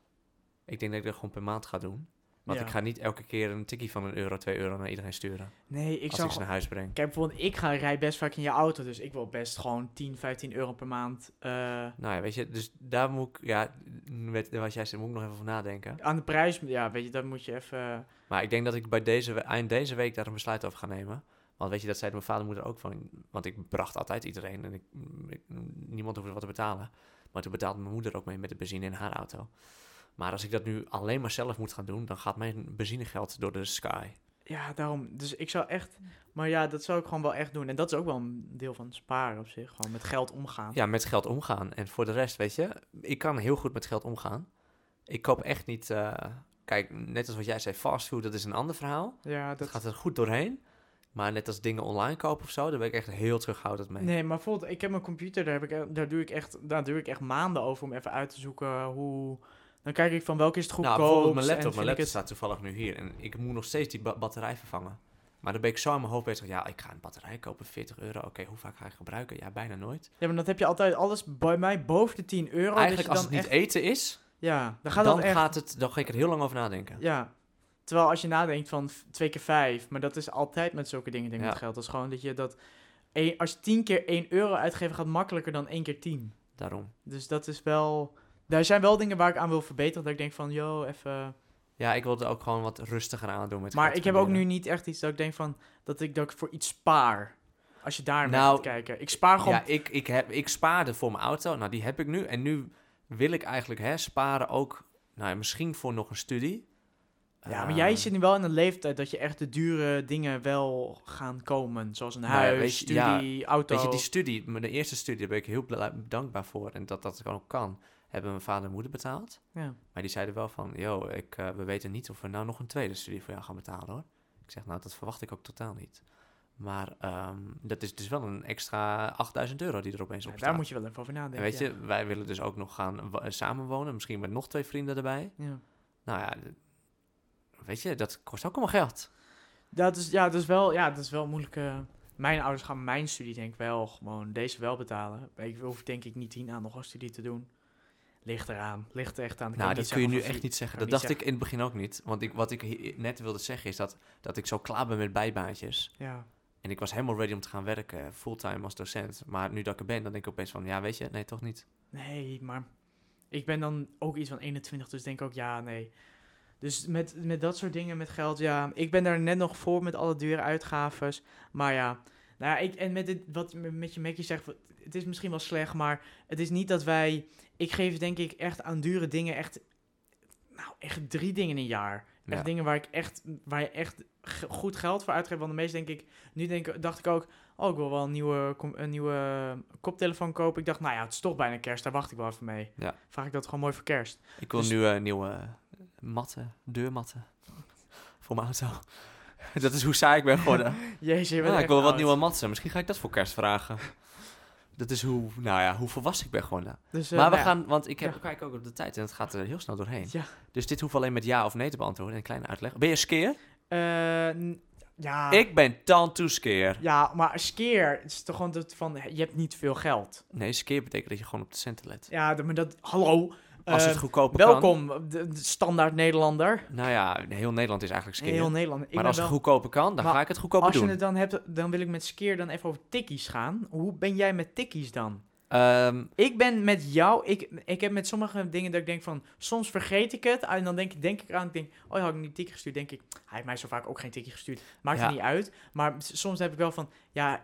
Ik denk dat ik dat gewoon per maand ga doen. Want
Ja.
ik ga niet elke keer een tikkie van een euro, twee euro naar iedereen sturen.
Nee, ik
als
zou
ik ze naar huis breng.
Kijk, bijvoorbeeld, ik ga rij best vaak in je auto, dus ik wil best gewoon 10, 15 euro per maand eh,
Nou ja, weet je, dus daar moet ik, ja, met wat jij zei, moet ik nog even voor nadenken.
aan de prijs. Ja, weet je, dat moet je even. eh,
Maar ik denk dat ik bij deze, we- eind deze week daar een besluit over ga nemen. Want weet je, dat zei mijn vader en moeder ook van. Want ik bracht altijd iedereen en ik, mm, ik- niemand hoefde wat te betalen. Maar toen betaalde mijn moeder ook mee met de benzine in haar auto. Maar als ik dat nu alleen maar zelf moet gaan doen, dan gaat mijn benzinegeld door de sky.
Ja, daarom. Dus ik zou echt. Maar ja, dat zou ik gewoon wel echt doen. En dat is ook wel een deel van sparen op zich. Gewoon met geld omgaan.
Ja, met geld omgaan. En voor de rest, weet je, ik kan heel goed met geld omgaan. Ik koop echt niet. eh, kijk, net als wat jij zei, fastfood, dat is een ander verhaal.
Ja,
Dat
dat.
gaat er goed doorheen. Maar net als dingen online kopen of zo, daar ben ik echt heel terughoudend mee.
Nee, maar bijvoorbeeld, ik heb mijn computer, daar, heb ik, e- daar, doe ik echt, daar doe ik echt maanden over om even uit te zoeken hoe... Dan kijk ik van welke is het goedkoop.
Nou, bijvoorbeeld mijn laptop.
en
Mijn
vind ik
laptop
het-
staat toevallig nu hier. En ik moet nog steeds die ba- batterij vervangen. Maar dan ben ik zo in mijn hoofd bezig. Ja, ik ga een batterij kopen, 40 euro. Oké, hoe vaak ga ik gebruiken? Ja, bijna nooit.
Ja, maar dat heb je altijd alles bij mij boven de 10 euro. dat
Eigenlijk
je
als
dus dan
het niet
echt-
eten is,
Ja, dan gaat
dan,
dat echt...
gaat het, dan ga ik er heel lang over nadenken.
Ja. Terwijl als je nadenkt van v- twee keer vijf, maar dat is altijd met zulke dingen, denk ik,
Ja.
met geld. Dat is gewoon dat je dat... één- Als je tien keer 1 euro uitgeven, gaat makkelijker dan één keer 10.
Daarom.
Dus dat is wel... Daar zijn wel dingen waar ik aan wil verbeteren. Dat ik denk van, yo, even... Maar
Ja, ik wilde ook gewoon wat rustiger aan doen met
ik
geld
heb ook nu
verdienen.
niet echt iets dat ik denk van... Dat ik, dat ik voor iets spaar. Als je daar naar
Nou,
gaat kijken. Ik spaar gewoon...
Ja, ik, ik, heb, ik spaarde voor mijn auto. Nou, die heb ik nu. En nu wil ik eigenlijk hè, sparen ook... Nou, ja, misschien voor nog een studie.
Ja, maar
Eh,
jij zit nu wel in een leeftijd dat je echt de dure dingen wel gaan komen. Zoals een
Nou ja,
huis,
weet je- ja,
studie, auto.
Weet je, die studie, mijn eerste studie, daar ben ik heel bla- dankbaar voor. En dat dat gewoon kan. Hebben mijn vader en moeder betaald.
Ja.
Maar die zeiden wel van, yo, ik, eh, we weten niet of we nou nog een tweede studie voor jou gaan betalen hoor. Ik zeg, nou, dat verwacht ik ook totaal niet. Maar ehm, dat is dus wel een extra 8000 euro die er opeens
Ja,
op staat.
daar moet je wel even over
en
nadenken.
weet
ja.
je, wij willen dus ook nog gaan wo- eh, samenwonen. Misschien met nog twee vrienden erbij.
Ja.
Nou ja, d- weet je, dat kost ook allemaal geld.
Dat is, ja, dat is wel, ja, dat is wel moeilijk. eh. Mijn ouders gaan mijn studie denk ik wel gewoon deze wel betalen. Ik hoef denk ik niet hierna nog een studie te doen. Ligt eraan. Ligt er echt aan. Ik
Nou,
kan
dat
niet
kun je
zeggen
nu
of-
echt niet zeggen.
kan
Dat
niet
dacht ik in het begin ook niet. Want ik, wat ik hi- net wilde zeggen is dat, dat ik zo klaar ben met bijbaantjes.
Ja.
En ik was helemaal ready om te gaan werken, fulltime als docent. Maar nu dat ik er ben, dan denk ik opeens van, ja, weet je, nee, toch niet.
Nee, maar ik ben dan ook iets van 21, dus denk ook ja, nee. Dus met, met dat soort dingen, met geld, ja. Ik ben daar net nog voor met alle dure uitgaves. Maar ja, nou ja, ik, en met dit, wat m- met je Mackie zegt, wat- het is misschien wel slecht, maar het is niet dat wij... Ik geef denk ik echt aan dure dingen echt, nou, echt drie dingen een jaar. Echt
Ja.
dingen waar ik echt, waar je echt g- goed geld voor uitgeeft. Want de meeste denk ik, nu denk, dacht ik ook, oh, ik wil wel een nieuwe, com- een nieuwe ehm, koptelefoon kopen. Ik dacht, nou ja, het is toch bijna kerst, daar wacht ik wel even mee.
Ja.
Vraag ik dat gewoon mooi voor kerst.
Ik wil
Dus-
nu eh, nieuwe matten, deurmatten voor mijn auto. dat is hoe saai ik ben geworden.
Jezus, je bent
ja, ik
echt
wil wat
oud.
nieuwe matten. Misschien ga ik dat voor kerst vragen. Dat is hoe, nou ja, hoe volwassen ik ben geworden.
Dus, eh,
maar we
nou ja.
gaan, want ik heb,
Ja.
kijk ook op de tijd en het gaat er heel snel doorheen.
Ja.
Dus dit hoeft alleen met ja of nee te beantwoorden en een kleine uitleg. Ben je skeer?
Eh, n- ja.
Ik ben tantoe skeer.
Ja, maar skeer het is toch gewoon dat van, je hebt niet veel geld.
Nee, skeer betekent dat je gewoon op de centen let.
Ja, d- maar dat, hallo.
Als
eh,
het goedkoper kan.
welkom, eh, de, de standaard Nederlander.
Nou ja, heel Nederland is eigenlijk skeer.
Heel Nederland. Ik
maar
ben
als het
wel-
goedkoper kan, dan
Maar
ga ik het goedkoper
als je
doen.
het dan hebt, dan wil ik met skeer dan even over tikkies gaan. Hoe ben jij met tikkies dan?
Ehm,
Ik ben met jou, ik, ik heb met sommige dingen dat ik denk van, soms vergeet ik het. En dan denk, ik- denk ik aan, ik denk, oh, had ik niet tikkie gestuurd? Denk ik, hij heeft mij zo vaak ook geen tikkie gestuurd. Maakt
Ja.
het niet uit. Maar s- soms heb ik wel van, ja,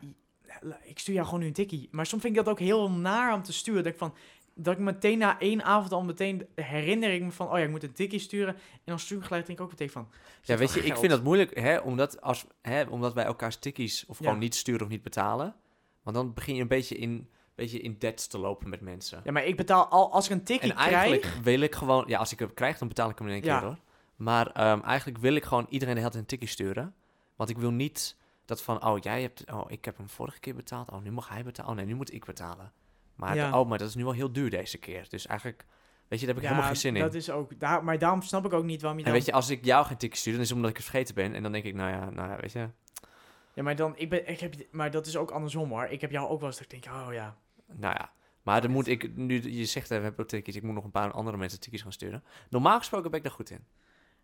ik stuur jou gewoon nu een tikkie. Maar soms vind ik dat ook heel naar om te sturen. Dat ik van, dat ik meteen na één avond al meteen herinner ik me van, oh ja, ik moet een tikkie sturen. En dan stuur ik gelijk denk ik ook meteen van,
ja,
zit
weet
wel
je, ik
geld.
vind dat moeilijk, hè, omdat, als, hè, omdat wij elkaar stickies of
Ja.
gewoon niet sturen of niet betalen. Want dan begin je een beetje in, een beetje in debts te lopen met mensen.
Ja, maar ik betaal al, als ik een tikkie
en eigenlijk
krijg...
wil ik gewoon, ja, als ik hem krijg, dan betaal ik hem in één
Ja.
keer hoor. Maar ehm, eigenlijk wil ik gewoon iedereen de hele tijd een tikkie sturen. Want ik wil niet dat van, oh, jij hebt, oh, ik heb hem vorige keer betaald. Oh, nu mag hij betalen. Oh nee, nu moet ik betalen. Maar,
Ja.
de- oh, maar dat is nu wel heel duur deze keer. Dus eigenlijk, weet je, daar heb ik
Ja,
helemaal geen zin in.
dat is ook, daar, maar daarom snap ik ook niet waarom je
En
dan...
weet je, als ik jou geen tikkie stuur, dan is het omdat ik het vergeten ben. En dan denk ik, nou ja, nou ja, weet je.
Ja, maar dan, ik ben, ik heb, maar dat is ook andersom hoor. Ik heb jou ook wel eens dat ik denk, oh ja.
Nou ja. Maar dan moet ik, nu je zegt, hè, we hebben tikkies, ik moet nog een paar andere mensen tikkies gaan sturen. Normaal gesproken ben ik daar goed in.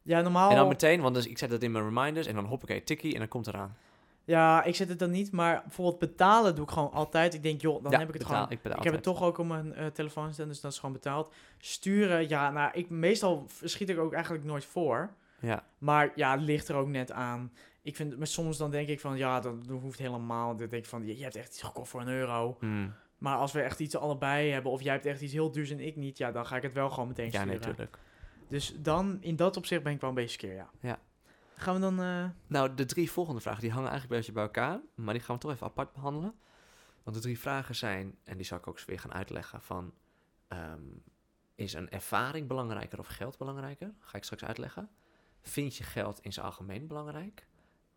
Ja, normaal...
En dan meteen, want dus ik zet dat in mijn reminders en dan hoppakee, tikkie en dan komt het eraan.
Ja, ik zet het dan niet, maar bijvoorbeeld betalen doe ik gewoon altijd. Ik denk, joh, dan
Ja,
heb ik het
betaal-
gewoon...
Ik, betaal
Ik heb het
altijd.
toch ook op mijn eh, telefoon staan, dus dat is gewoon betaald. Sturen, ja, nou, ik, meestal schiet ik ook eigenlijk nooit voor.
Ja,
Maar ja, het ligt er ook net aan. Ik vind, maar soms dan denk ik van, ja, dat, dat hoeft helemaal. Dan denk ik van, je, je hebt echt iets gekocht voor een euro.
Hmm.
Maar als we echt iets allebei hebben, of jij hebt echt iets heel duurs en ik niet, ja, dan ga ik het wel gewoon meteen
ja
sturen.
nee, tuurlijk.
Dus dan, in dat opzicht ben ik wel een beetje skeer, ja.
Ja.
Gaan we dan... eh,
Nou, de drie volgende vragen, die hangen eigenlijk een beetje bij elkaar. Maar die gaan we toch even apart behandelen. Want de drie vragen zijn, en die zal ik ook eens weer gaan uitleggen, van... ehm, is een ervaring belangrijker of geld belangrijker? Ga ik straks uitleggen. Vind je geld in zijn algemeen belangrijk?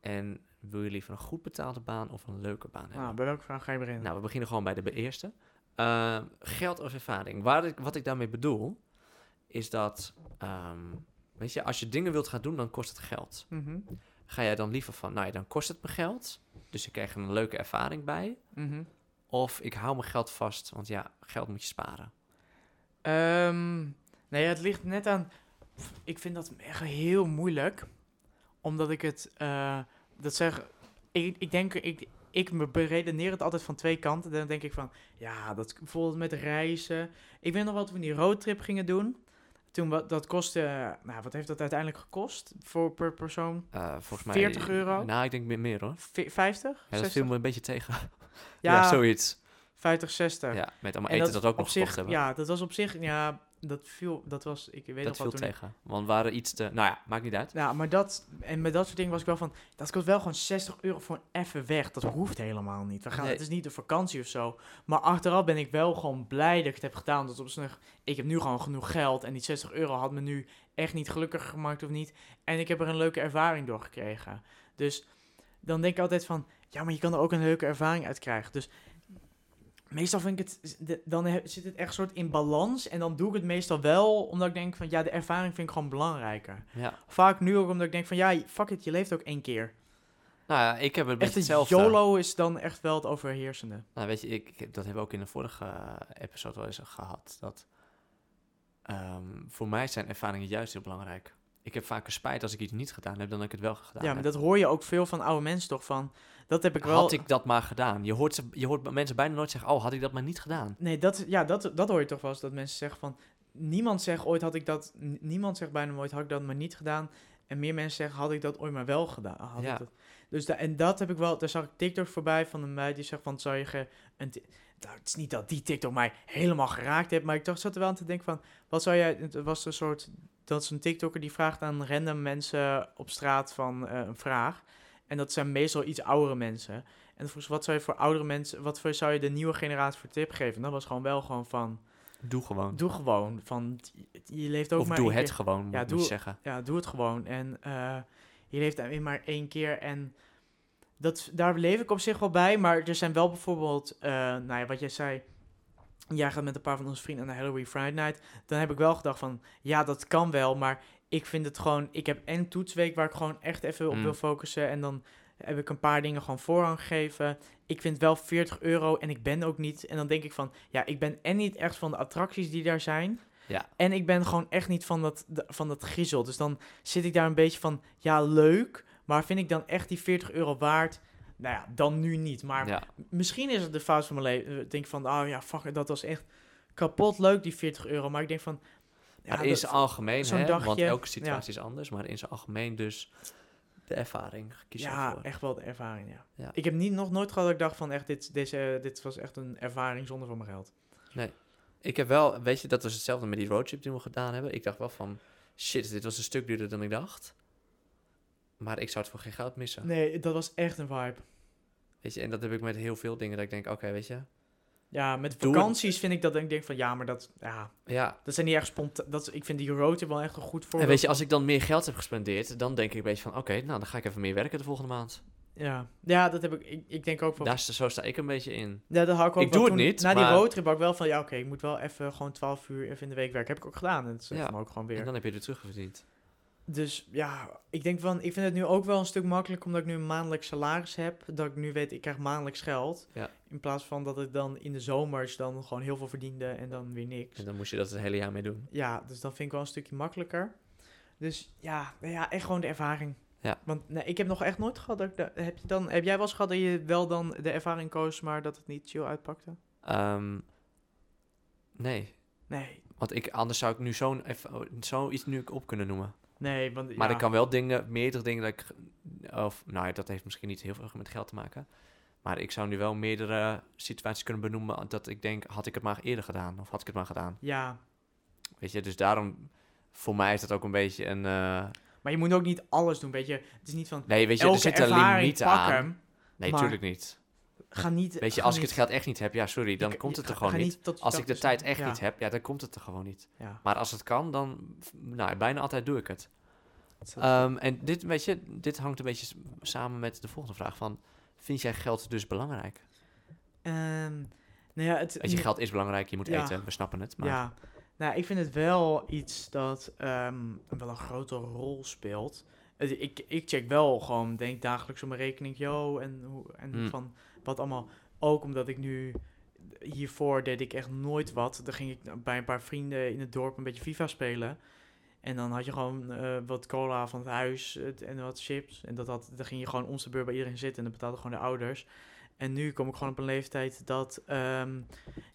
En wil je liever een goed betaalde baan of een leuke baan hebben?
nou, bij welke vraag ga je beginnen?
Nou, we beginnen gewoon bij de be- eerste. Ehm, geld of ervaring. Waar ik, wat ik daarmee bedoel, is dat... ehm, weet je, als je dingen wilt gaan doen, dan kost het geld
Mhm,
ga jij dan liever van, nou ja, dan kost het me geld, dus ik krijg er een leuke ervaring bij.
mhm.
Of ik hou mijn geld vast, want ja, geld moet je sparen.
Ehm, nee, het ligt net aan. Pff, Ik vind dat echt heel moeilijk. Omdat ik het. eh, dat zeg. Ik, ik denk. Ik, ik me beredeneer het altijd van twee kanten. Dan denk ik van. Ja, dat bijvoorbeeld met reizen. Ik weet nog wat we die roadtrip gingen doen. Toen wat, dat kostte. eh, Nou, wat heeft dat uiteindelijk gekost? Voor per persoon?
Eh, volgens mij,
40 euro?
Nou, ik denk meer, meer hoor.
Vi- 50?
Ja, dat
60?
viel me een beetje tegen. Ja,
ja,
zoiets.
50, 60.
Ja, met allemaal
En
eten dat, ook
op
nog
zich,
gekocht hebben.
Ja, dat was op zich. Ja, dat viel. Dat was. Ik weet
dat
nog
viel
wat toen.
tegen. Want we waren iets te... Nou ja, maakt niet uit.
Ja, maar dat, en met dat soort dingen was ik wel van, dat kost wel gewoon 60 euro voor een even weg. Dat hoeft helemaal niet. We gaan,
Nee.
Het is niet een vakantie of zo. Maar achteraf ben ik wel gewoon blij dat ik het heb gedaan. Dat op zich, ik heb nu gewoon genoeg geld en die 60 euro had me nu echt niet gelukkig gemaakt of niet. En ik heb er een leuke ervaring door gekregen. Dus dan denk ik altijd van, ja, maar je kan er ook een leuke ervaring uit krijgen. Dus meestal vind ik het, de- dan he- zit het echt soort in balans. En dan doe ik het meestal wel, omdat ik denk van, ja, de ervaring vind ik gewoon belangrijker.
Ja.
Vaak nu ook omdat ik denk van ja, fuck it, je leeft ook één keer.
Nou ja, ik heb het met
Echt een
hetzelfde.
YOLO is dan echt wel het overheersende.
Nou, weet je, ik, ik heb- dat hebben we ook in de vorige eh, episode wel eens gehad. Dat ehm, voor mij zijn ervaringen juist heel belangrijk. Ik heb vaker spijt als ik iets niet gedaan heb dan dat ik het wel gedaan heb.
ja, maar dat hoor je ook veel van oude mensen toch van. Dat heb ik wel.
Had ik dat maar gedaan. Je hoort, ze, je hoort mensen bijna nooit zeggen, oh, had ik dat maar niet gedaan.
Nee, dat, ja, dat, dat hoor je toch wel eens dat mensen zeggen van niemand zegt ooit had ik dat n- niemand zegt bijna nooit had ik dat maar niet gedaan en meer mensen zeggen had ik dat ooit maar wel gedaan. Had
Ja.
ik dat. Dus da- en dat heb ik wel. Daar zag ik TikTok voorbij van een meid die zegt van zou je ge- een ti- nou, het is niet dat die TikTok mij helemaal geraakt heeft, maar ik dacht zat er wel aan te denken van wat zou jij het was een soort dat is een TikToker die vraagt aan random mensen op straat van eh, een vraag en dat zijn meestal iets oudere mensen. En dan vroeg ze, wat zou je voor oudere mensen, wat voor, zou je de nieuwe generatie voor tip geven? En dat was gewoon wel gewoon van,
Doe gewoon.
doe gewoon. Van, je leeft ook
of
maar
doe
één
het
keer.
gewoon, moet
Ja,
ik
doe-
niet zeggen.
Ja, doe het gewoon. En eh, je leeft alleen maar één keer. En dat, daar leef ik op zich wel bij. Maar er zijn wel bijvoorbeeld, eh, nou ja, wat jij zei. Jij gaat met een paar van onze vrienden naar Halloween Friday Night. Dan heb ik wel gedacht van, ja, dat kan wel. Maar ik vind het gewoon, ik heb en toetsweek waar ik gewoon echt even op
Mm.
wil focussen. En dan heb ik een paar dingen gewoon voorrang gegeven. Ik vind wel 40 euro en ik ben ook niet. En dan denk ik van, ja, ik ben en niet echt van de attracties die daar zijn.
Ja.
En ik ben gewoon echt niet van dat, de- van dat griezel. Dus dan zit ik daar een beetje van, ja, leuk. Maar vind ik dan echt die 40 euro waard? Nou ja, dan nu niet. Maar
ja.
misschien is het de fout van mijn leven. Ik denk van, oh ja, fuck, it, dat was echt kapot leuk, die 40 euro. Maar ik denk van... ja,
maar in
dat-
zijn algemeen,
zo'n
hè, want
dagje,
elke situatie is anders. Maar in zijn algemeen dus de ervaring kies
ja,
ervoor.
echt wel de ervaring, ja.
Ja.
Ik heb niet, nog nooit gehad dat ik dacht van echt, dit, deze, dit was echt een ervaring zonder van mijn geld.
Ik heb wel, weet je, dat was hetzelfde met die roadtrip die we gedaan hebben. Ik dacht wel van, shit, dit was een stuk duurder dan ik dacht. Maar ik zou het voor geen geld missen.
Nee, dat was echt een vibe.
Weet je, en dat heb ik met heel veel dingen. Dat ik denk, oké, weet je.
Ja, met
Doe-
vakanties vind ik dat ik denk van, ja, maar dat, ja,
Ja,
dat zijn niet echt spontaan. Dat, is- ik vind die roadtrip wel echt een goed voorbeeld.
en weet je, als ik dan meer geld heb gespendeerd, dan denk ik een beetje van, oké, nou, dan ga ik even meer werken de volgende maand.
Ja, ja dat heb ik, ik, ik denk ook van...
Daar, is- zo sta ik een beetje in.
Ja, dat hou ik ook
Ik
wel
doe het
toen-
niet,
Na
maar-
die roadtrip had ik wel van, ja, oké, ik moet wel even gewoon 12 uur even in de week werken. Heb ik ook gedaan. En dat is
Ja.
me ook gewoon weer.
En dan heb je er terugverdiend.
Dus ja, ik denk van, ik vind het nu ook wel een stuk makkelijker omdat ik nu een maandelijks salaris heb. Dat ik nu weet, ik krijg maandelijks geld.
Ja.
In plaats van dat ik dan in de zomers dan gewoon heel veel verdiende en dan weer niks.
En dan moest je dat het hele jaar mee doen.
Ja, dus dan vind ik wel een stukje makkelijker. Dus ja, nou ja, echt gewoon de ervaring.
Ja.
Want nee, ik heb nog echt nooit gehad dat ik da- heb, je dan, heb jij wel eens gehad dat je wel dan de ervaring koos, maar dat het niet chill uitpakte?
Ehm, nee,
Nee,
want ik, anders zou ik nu zo'n erv- zoiets nu ik op kunnen noemen.
nee, want
Maar
ja.
ik kan wel dingen, meerdere dingen dat ik. ge- Of, nou, ja, dat heeft misschien niet heel veel met geld te maken. Maar ik zou nu wel meerdere situaties kunnen benoemen dat ik denk, had ik het maar eerder gedaan? Of had ik het maar gedaan?
Ja,
Weet je, dus daarom, voor mij is dat ook een beetje een... eh,
maar je moet ook niet alles doen, weet je. Het is niet van,
nee, weet je,
elke
er zit een
ervaring
limiet
pak
aan.
hem.
Nee,
maar-
tuurlijk niet.
Ga niet...
Weet je,
ga
als ik
niet-
het geld echt niet heb, ja, sorry, dan
je-
komt het
ga-
er gewoon
ga
niet.
tot
Als ik de
jezelf
tijd
dus-
echt
ja,
niet heb, ja, dan komt het er gewoon niet.
Ja,
Maar als het kan, dan, nou, bijna altijd doe ik het.
dat is-
Ehm, en dit, weet je, dit hangt een beetje s- samen met de volgende vraag van... Vind jij geld dus belangrijk?
Ehm, nou ja, het...
Weet je, geld is belangrijk, je moet
Ja.
eten, we snappen het. Maar
Ja, nou, ik vind het wel iets dat ehm, wel een grote rol speelt. Het- Ik, ik check wel gewoon, denk dagelijks op mijn rekening, yo, en, hoe, en
Hmm.
van wat allemaal. Ook omdat ik nu, hiervoor deed ik echt nooit wat. Dan ging ik bij een paar vrienden in het dorp een beetje FIFA spelen. En dan had je gewoon eh, wat cola van het huis het- en wat chips. En dat had, dan ging je gewoon om de beurt bij iedereen zitten en dat betaalden gewoon de ouders. En nu kom ik gewoon op een leeftijd dat ehm,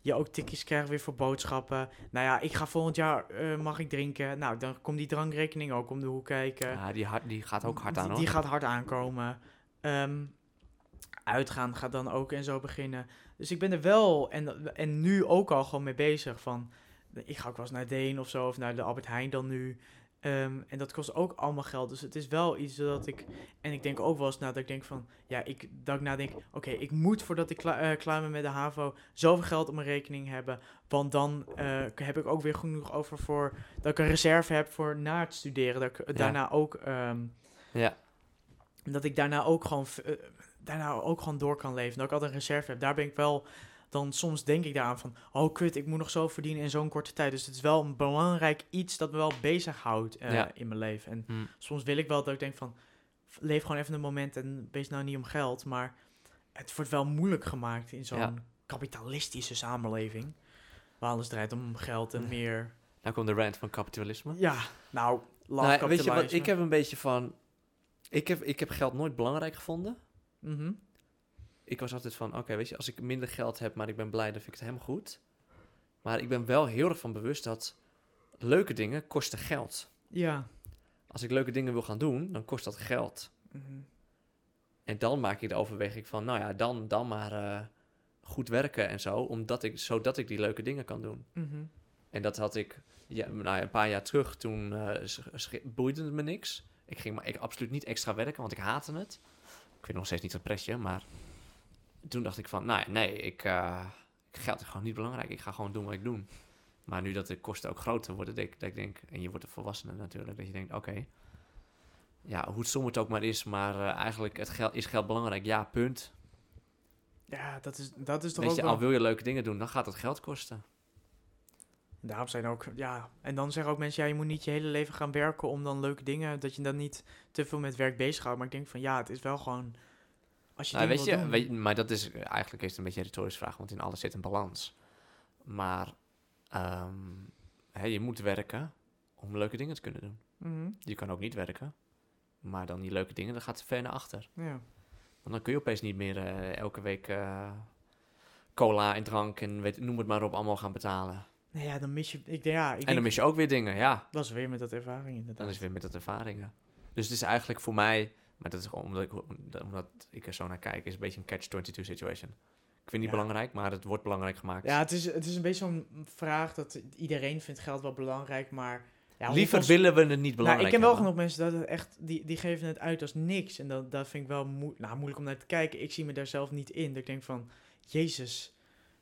je ook tikjes krijgt weer voor boodschappen. Nou ja, ik ga volgend jaar, eh, mag ik drinken? Nou, dan komt die drankrekening ook om de hoek kijken.
ja, Ah, die, hard, die gaat ook hard aan,
Die,
hoor.
die gaat hard aankomen. Ehm, uitgaan gaat dan ook en zo beginnen. Dus ik ben er wel en, en nu ook al gewoon mee bezig. Van, ik ga ook wel eens naar Deen of zo, of naar de Albert Heijn dan nu. Ehm, en dat kost ook allemaal geld. Dus het is wel iets dat ik. En ik denk ook wel eens na dat ik denk van. Ja, ik, dat ik nadenk. Oké, ik moet voordat ik kla- eh, klaar ben met de HAVO. zoveel geld op mijn rekening hebben. Want dan eh, heb ik ook weer genoeg over voor. dat ik een reserve heb voor na het studeren. Dat ik daarna ook. ehm,
Ja,
dat ik daarna ook gewoon, v- eh, daarna ook gewoon door kan leven. Dat ik altijd een reserve heb. Daar ben ik wel dan soms denk ik daaraan van... oh kut, ik moet nog zo verdienen in zo'n korte tijd. Dus het is wel een belangrijk iets dat me wel bezighoudt eh,
Ja.
in mijn leven. En
Hmm.
soms wil ik wel dat ik denk van... f- leef gewoon even een moment en wees nou niet om geld. Maar het wordt wel moeilijk gemaakt in zo'n
Ja.
kapitalistische samenleving. Waar alles draait om geld en
Ja.
meer...
nou komt de rant van kapitalisme.
Ja, nou, laat
Nou, weet je
kapitalisme.
wat, ik heb een beetje van... Ik heb, ik heb geld nooit belangrijk gevonden.
Mhm.
Ik was altijd van, oké, weet je, als ik minder geld heb, maar ik ben blij, dan vind ik het helemaal goed. Maar ik ben wel heel erg van bewust dat leuke dingen kosten geld.
Ja.
Als ik leuke dingen wil gaan doen, dan kost dat geld.
Mhm.
En dan maak ik de overweging van, nou ja, dan, dan maar eh, goed werken en zo, omdat ik, zodat ik die leuke dingen kan doen.
Mhm.
En dat had ik ja, nou ja, een paar jaar terug, toen eh, sch- sch- boeide het me niks. Ik ging maar ik, absoluut niet extra werken, want ik haatte het. Ik weet nog steeds niet dat pretje, maar toen dacht ik van, nou ja, nee, ik, eh, geld is gewoon niet belangrijk. Ik ga gewoon doen wat ik doe. Maar nu dat de kosten ook groter worden, denk, ik- dat ik denk, en je wordt een volwassene natuurlijk, dat je denkt, oké, ja, hoe stom het ook maar is, maar eh, eigenlijk het geld, is geld belangrijk. Ja, punt.
Ja, dat is, dat is toch
Weet
ook
je,
wel...
al wil je leuke dingen doen, dan gaat het geld kosten.
Daarom zijn ook, ja. En dan zeggen ook mensen, ja, je moet niet je hele leven gaan werken om dan leuke dingen, dat je dan niet te veel met werk bezighoudt. Maar ik denk van, ja, het is wel gewoon, als je
Nou,
dingen
weet
wil
je,
doen-
weet, je- maar dat is eigenlijk is het een beetje een retorische vraag, want in alles zit een balans. Maar ehm, hè, je moet werken om leuke dingen te kunnen doen.
Mhm,
Je kan ook niet werken, maar dan die leuke dingen, dat gaat te ver naar achter.
ja.
Want dan kun je opeens niet meer eh, elke week eh, cola en drank en weet, noem het maar op allemaal gaan betalen.
Nou ja, dan mis je, ik denk, ja,
en
ik denk-
dan mis je ook weer dingen, ja.
dat is weer met dat ervaring
Dan
inderdaad.
is het weer met dat ervaringen. Dus het is eigenlijk voor mij, maar dat is gewoon omdat ik, omdat ik er zo naar kijk, is een beetje een catch-22 situation. Ik vind het niet
Ja.
belangrijk, maar het wordt belangrijk gemaakt.
Ja, het is, het is een beetje zo'n vraag dat iedereen vindt geld wel belangrijk, maar... Ja,
Liever
hoeveel-
willen we het niet
Nou,
belangrijk
ik ken wel
hebben.
genoeg mensen dat het echt, die, die geven het uit als niks. En dat, dat vind ik wel moe- nou, moeilijk om naar te kijken. Ik zie me daar zelf niet in. Dat ik denk van, jezus,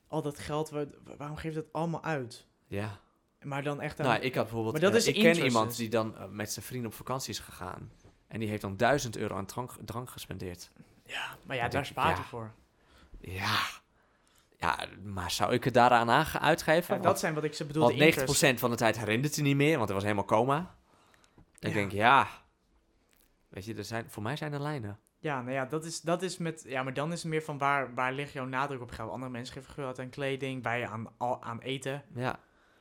al dat geld, wa- wa- waarom geef je dat allemaal uit?
Ja.
Maar dan echt aan...
Nou, ik had bijvoorbeeld...
Maar dat
eh,
is
ik ken
interest,
iemand
dus.
die dan eh, met zijn vrienden op vakantie is gegaan. En die heeft dan duizend euro aan drank, drank gespendeerd.
ja, maar ja,
dan
daar
denk ik,
spaart
ja,
je voor.
Ja. Ja, maar zou ik het daaraan aange- uitgeven?
Ja, dat zijn wat ik ze bedoel,
want
de
want 90%
interest.
van de tijd herinnert hij niet meer, want hij was helemaal coma. En Ik
Ja.
denk, ja... Weet je, er zijn, voor mij zijn er lijnen.
Ja, nou ja, dat is, dat is met... Ja, maar dan is het meer van, waar, waar ligt jouw nadruk op geld? Andere mensen geven geld aan kleding, wij aan, al, aan eten.
Ja.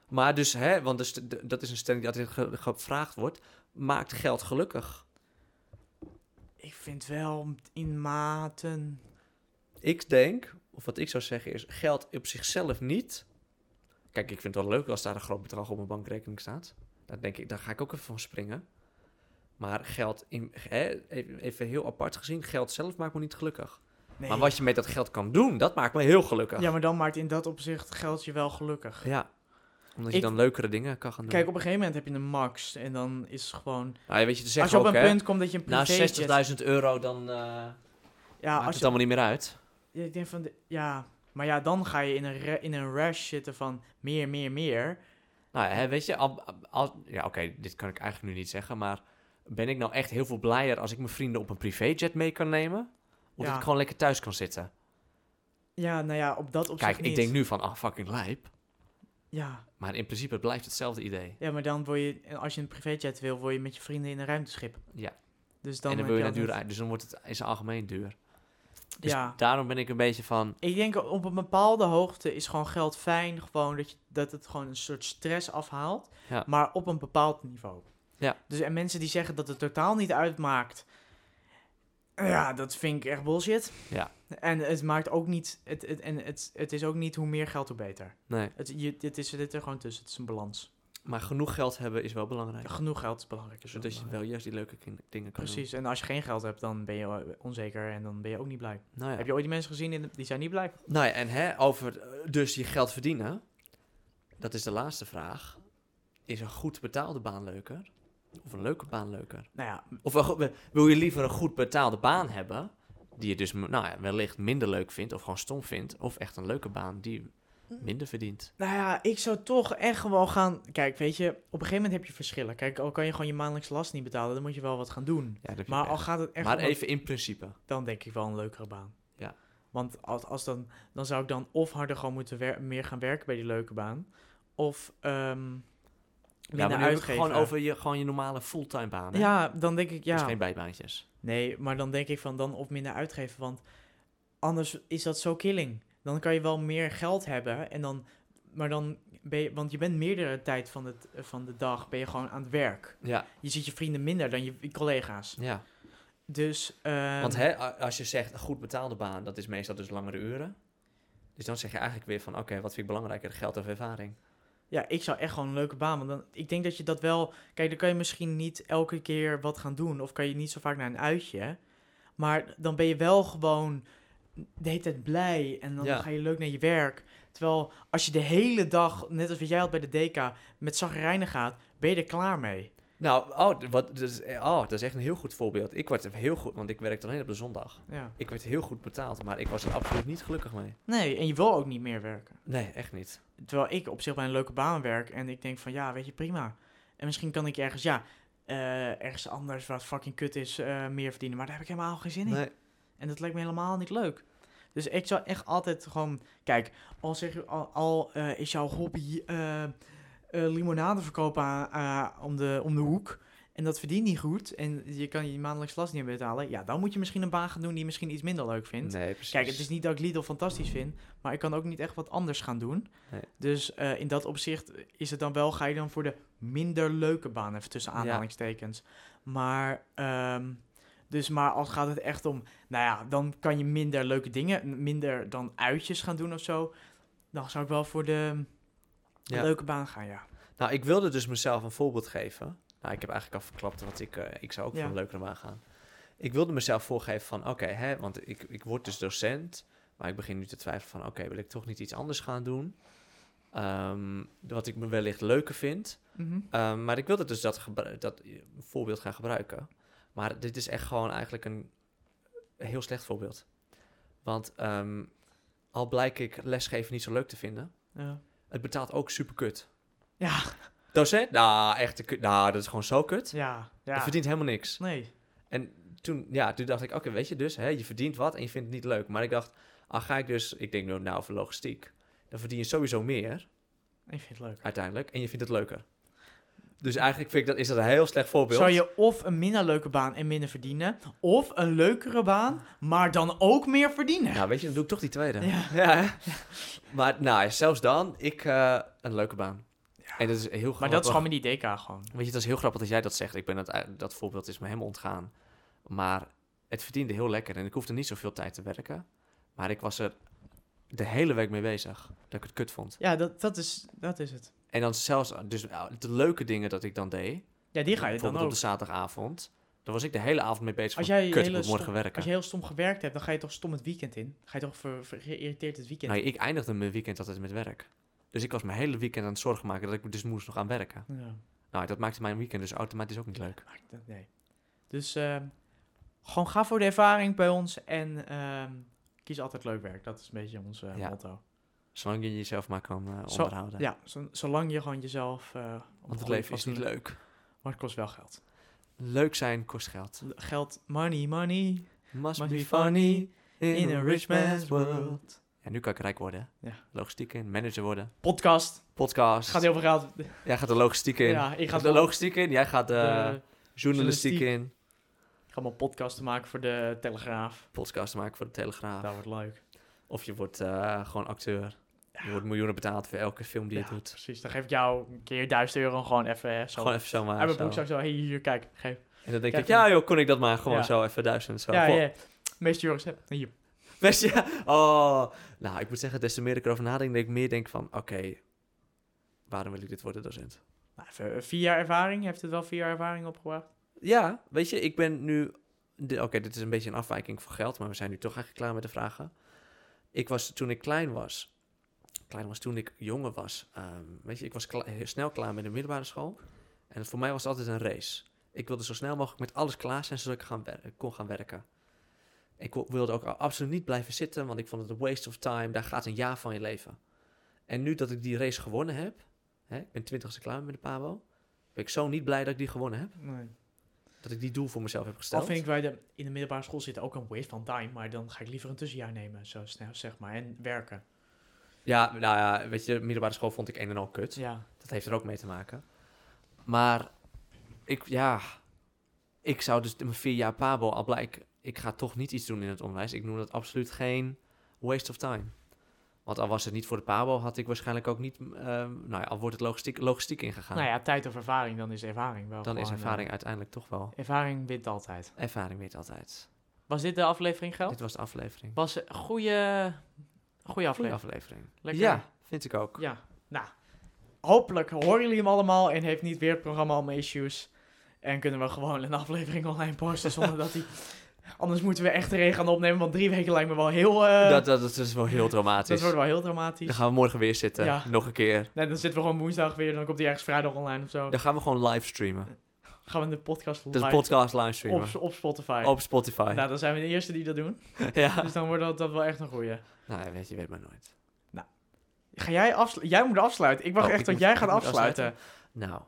Maar dus, hè, want dus, de- dat is een stelling die altijd ge- gevraagd wordt. maakt geld gelukkig.
Ik vind wel in maten.
Ik denk, of wat ik zou zeggen is, geld op zichzelf niet. Kijk, ik vind het wel leuk als daar een groot bedrag op mijn bankrekening staat. Daar denk ik, daar ga ik ook even van springen. Maar geld, in, hè, even even heel apart gezien, geld zelf maakt me niet gelukkig.
Nee.
Maar wat je met dat geld kan doen, dat maakt me heel gelukkig.
Ja, maar dan maakt in dat opzicht geld je wel gelukkig.
Ja. Omdat
Ik-
je dan leukere dingen kan gaan doen.
Kijk, op een gegeven moment heb je een max en dan is het gewoon...
nou, ja, weet je, ze
als je
zeggen
op
ook,
een
hè,
punt komt dat je een
na
privéjet...
60.000 euro, dan eh
ja,
maakt
als
het
je,
allemaal niet meer uit.
ja, ik denk van... de- ja, maar ja, dan ga je in een, ra- in een rush zitten van meer, meer, meer.
Nou ja, hè, weet je, al, al- ja, oké, dit kan ik eigenlijk nu niet zeggen, maar ben ik nou echt heel veel blijer als ik mijn vrienden op een privéjet mee kan nemen? Of
Ja.
dat ik gewoon lekker thuis kan zitten?
Ja, nou ja, op dat opzicht
Kijk,
niet.
ik denk nu van, ah, fucking lijp.
Ja,
Maar in principe blijft hetzelfde idee.
ja maar dan word je... en Als je een privéjet wil, word je met je vrienden in een ruimteschip.
Ja.
Dus dan
en dan
heb
wil je naar
altijd-
duur uit, dus dan wordt het in zijn algemeen duur. Dus
Ja.
daarom ben ik een beetje van,
Ik denk op een bepaalde hoogte is gewoon geld fijn. Gewoon dat, je, dat het gewoon een soort stress afhaalt.
Ja.
Maar op een bepaald niveau.
Ja.
Dus en mensen die zeggen dat het totaal niet uitmaakt. Ja, dat vind ik echt bullshit.
Ja.
En het maakt ook niet. Het, het, en het, het is ook niet hoe meer geld, hoe beter.
nee.
Het, je, dit is dit er gewoon tussen. Het is een balans.
Maar genoeg geld hebben is wel belangrijk.
Genoeg geld is belangrijk. is wel
Zodat je
belangrijk.
wel juist die leuke kin- dingen kan
Precies. En als je geen geld hebt, dan ben je eh, onzeker en dan ben je ook niet blij.
doen. Nou ja.
Heb je ooit die mensen gezien in de- die zijn niet blij?
Nou ja, en hè, over eh, dus je geld verdienen. Dat is de laatste vraag. Is een goed betaalde baan leuker? Of een leuke baan leuker?
Nou ja,
Of een go- wil je liever een goed betaalde baan hebben? Die je dus nou ja, wellicht minder leuk vindt of gewoon stom vindt. Of echt een leuke baan die minder verdient.
Nou ja, ik zou toch echt gewoon gaan. Kijk, weet je, op een gegeven moment heb je verschillen. Kijk, al kan je gewoon je maandelijks last niet betalen, dan moet je wel wat gaan doen.
Ja, dat heb je
Maar
pech.
al gaat het echt.
maar
om het-
even in principe.
Dan denk ik wel een leukere baan.
Ja.
Want als, als dan, dan zou ik dan of harder gewoon moeten wer- meer gaan werken bij die leuke baan. Of ehm
Ja, maar
minder
nu heb ik het
uitgeven.
gewoon over je, gewoon je normale fulltime baan. hè?
Ja, dan denk ik ja.
Dus geen bijbaantjes.
Nee, maar dan denk ik van dan of minder uitgeven. Want anders is dat zo killing. Dan kan je wel meer geld hebben. En dan, maar dan ben je, want je bent meerdere tijd van, het, van de dag ben je gewoon aan het werk.
Ja,
Je ziet je vrienden minder dan je, je collega's.
ja.
Dus. ehm,
Want hè, a- als je zegt een goed betaalde baan, dat is meestal dus langere uren. Dus dan zeg je eigenlijk weer van, oké, wat vind ik belangrijker, geld of ervaring?
Ja, ik zou echt gewoon een leuke baan. Want dan, ik denk dat je dat wel. Kijk, dan kan je misschien niet elke keer wat gaan doen. Of kan je niet zo vaak naar een uitje. Maar dan ben je wel gewoon de hele tijd blij. En dan
Ja.
ga je leuk naar je werk. Terwijl als je de hele dag, net als wat jij had bij de DK, met zagrijnen gaat, ben je er klaar mee.
Nou, oh, d- wat, dus, eh, oh, dat is echt een heel goed voorbeeld. Ik werd heel goed, want ik werkte alleen op de zondag.
Ja.
Ik werd heel goed betaald, maar ik was er absoluut niet gelukkig mee.
Nee, en je wil ook niet meer werken.
Nee, echt niet.
Terwijl ik op zich bij een leuke baan werk en ik denk van ja, weet je, prima. En misschien kan ik ergens, ja, eh, ergens anders wat fucking kut is, eh, meer verdienen. Maar daar heb ik helemaal geen zin in.
Nee.
En dat lijkt me helemaal niet leuk. Dus ik zou echt altijd gewoon... Kijk, al, zeg, je- al, al eh, is jouw hobby eh, eh, limonade verkopen aan- aan- eh, om, de, om de hoek... en dat verdient niet goed en je kan je maandelijks last niet betalen... ja, dan moet je misschien een baan gaan doen die je misschien iets minder leuk vindt.
Nee, precies.
Kijk, het is niet dat ik Lidl fantastisch vind, maar ik kan ook niet echt wat anders gaan doen.
Nee.
Dus eh, in dat opzicht is het dan wel, ga je dan voor de minder leuke baan, even tussen
Ja.
aanhalingstekens. Maar, ehm, dus, maar als gaat het echt om, nou ja, dan kan je minder leuke dingen, minder dan uitjes gaan doen of zo. Dan zou ik wel voor de
Ja.
leuke baan gaan, ja.
Nou, ik wilde dus mezelf een voorbeeld geven. Nou, ik heb eigenlijk al verklapt, want ik, eh, ik zou ook
Ja.
voor een leukere baan gaan. Ik wilde mezelf voorgeven van, oké, hè, want ik, ik word dus docent. Maar ik begin nu te twijfelen van, oké, wil ik toch niet iets anders gaan doen? Ehm, wat ik me wellicht leuker vind.
Mhm.
Ehm, maar ik wilde dus dat, gebru- dat eh, voorbeeld gaan gebruiken. Maar dit is echt gewoon eigenlijk een een heel slecht voorbeeld. Want ehm, al blijk ik lesgeven niet zo leuk te vinden...
Ja.
Het betaalt ook super kut.
Ja.
Docent? Nou, echt een kut. Nou, dat is gewoon zo kut.
ja,
Je
ja.
verdient helemaal niks.
Nee,
En toen, ja, toen dacht ik, oké, weet je dus, hè, je verdient wat en je vindt het niet leuk. Maar ik dacht, al ga ik dus, ik denk nou, nou voor logistiek, dan verdien je sowieso meer
ik vind het leuk.
uiteindelijk en je vindt het leuker. Dus eigenlijk vind ik dat, is dat een heel slecht voorbeeld.
Zou je of een minder leuke baan en minder verdienen, of een leukere baan, maar dan ook meer verdienen?
Nou, weet je, dan doe ik toch die tweede.
Ja.
hè? Maar nou, zelfs dan, ik, eh, een leuke baan. En dat is heel grappig.
Maar dat is gewoon met die DK gewoon.
Weet je, dat is heel grappig dat jij dat zegt. Ik ben dat, dat voorbeeld is me helemaal ontgaan. Maar het verdiende heel lekker en ik hoefde niet zoveel tijd te werken. Maar ik was er de hele week mee bezig dat ik het kut vond.
Ja, dat, dat, is, dat is het.
En dan zelfs, dus uh, de leuke dingen dat ik dan deed.
Ja, die ga je dan
bijvoorbeeld op
ook.
de zaterdagavond. Daar was ik de hele avond mee bezig.
Als
Als
jij
jij
je
kut, ik
hele
moet morgen werken.
Als je heel stom gewerkt hebt, dan ga je toch stom het weekend in. Ga je toch ver, ver- geïrriteerd het weekend
Nou,
in.
ik eindigde mijn weekend altijd met werk. Dus ik was mijn hele weekend aan het zorgen maken dat ik me dus moest nog aan werken.
Ja,
Nou, dat maakte mijn weekend dus automatisch ook niet leuk.
maar dat- nee. Dus ehm, gewoon ga voor de ervaring bij ons en ehm, kies altijd leuk werk. Dat is een beetje ons eh,
Ja.
motto.
Zolang je jezelf maar kan eh,
Zo-
onderhouden.
Ja, zo- zolang je gewoon jezelf... eh, op een
Want het
goede
leven is
fatsoen-
niet leuk.
Maar het kost wel geld.
Leuk zijn kost geld.
Geld, money, money.
Must,
Must
be
be
funny in,
In a rich man's world.
Ja, nu kan ik rijk worden. hè?
Ja.
Logistiek in, manager worden.
Podcast.
Podcast.
Het gaat heel veel geld.
Jij gaat de logistiek in.
Ja, ik ga
de logistiek in. Jij gaat de,
de-
journalistiek,
journalistiek.
in.
Ik ga mijn podcast maken voor de Telegraaf.
Podcast maken voor de Telegraaf.
Dat wordt leuk.
Of je wordt eh, gewoon acteur. Je wordt miljoenen betaald voor elke film die
Ja,
je doet.
Precies, dan geef ik jou een keer 1000 euro gewoon even hè, zo.
Gewoon even zomaar.
uit mijn
zo.
broek zo, hey, hier, kijk, geef.
En dan denk
Kijk
ik, ja joh, kon ik dat maar gewoon
Ja.
zo even duizend. Zo.
ja,
Vol-
ja, ja. Meeste jurks heb hier.
Best, ja. Oh. Nou, ik moet zeggen, des te meer ik erover nadenk, denk ik meer denk van, oké, waarom wil ik dit worden docent?
Nou, even, eh, vier jaar ervaring, heeft het wel vier jaar ervaring opgebracht?
Ja, weet je, ik ben nu. de- Oké, dit is een beetje een afwijking voor geld, maar we zijn nu toch eigenlijk klaar met de vragen. Ik was toen ik klein was. Klein was toen ik jonger was. ehm, weet je, ik was kla- heel snel klaar met de middelbare school. En het- voor mij was het altijd een race. Ik wilde zo snel mogelijk met alles klaar zijn zodat ik gaan wer- kon gaan werken. Ik wo- wilde ook a- absoluut niet blijven zitten, want ik vond het een waste of time. Daar gaat een jaar van je leven. En nu dat ik die race gewonnen heb, hè, ik ben twintigste klaar met de Pabo, ben ik zo niet blij dat ik die gewonnen heb
Nee.
dat ik die doel voor mezelf heb gesteld.
Al vind ik wij de, in de middelbare school zitten ook een waste van time, maar dan ga ik liever een tussenjaar nemen, zo snel zeg maar, en werken.
Ja, nou ja, weet je, middelbare school vond ik een en al kut.
Ja.
Dat heeft er ook mee te maken. Maar ik, ja, ik zou dus mijn vier jaar Pabo al blijken. Ik ga toch niet iets doen in het onderwijs. Ik noem dat absoluut geen waste of time. Want al was het niet voor de Pabo, had ik waarschijnlijk ook niet. ehm, nou ja, al wordt het logistiek, logistiek ingegaan.
Nou ja, tijd of ervaring, dan is ervaring wel
Dan is
gewoon, eh,
ervaring uiteindelijk toch wel.
ervaring wint altijd.
Ervaring weet altijd.
Was dit de aflevering, Geld?
Dit was de aflevering.
Was een goede, goede
Goeie
aflevering.
aflevering.
Lekker.
Ja, vind ik ook.
Ja, nou. Hopelijk horen jullie hem allemaal en heeft niet weer het programma allemaal issues. En kunnen we gewoon een aflevering online posten zonder dat hij... Anders moeten we echt erin gaan opnemen, want drie weken lijkt me wel heel... eh,
dat,
dat,
dat, dat is wel heel dramatisch.
wordt wel heel
Dan
dramatisch.
gaan we morgen weer zitten.
Ja.
Nog een keer.
Nee, dan zitten we gewoon woensdag weer, dan komt hij ergens vrijdag online of zo.
Dan gaan we gewoon livestreamen.
Gaan we de podcast
De
live
podcast livestreamen.
op, op Spotify.
Op, Spotify.
Nou, dan zijn we de eerste die dat doen.
ja.
Dus dan wordt dat, dat wel echt een goeie.
Nou, ja, weet je, weet maar nooit.
Ga jij afsluiten? Jij moet afsluiten. Ik wacht
Oh,
echt
ik
tot
moet-
jij
ik
gaat
moet
afsluiten.
Nou,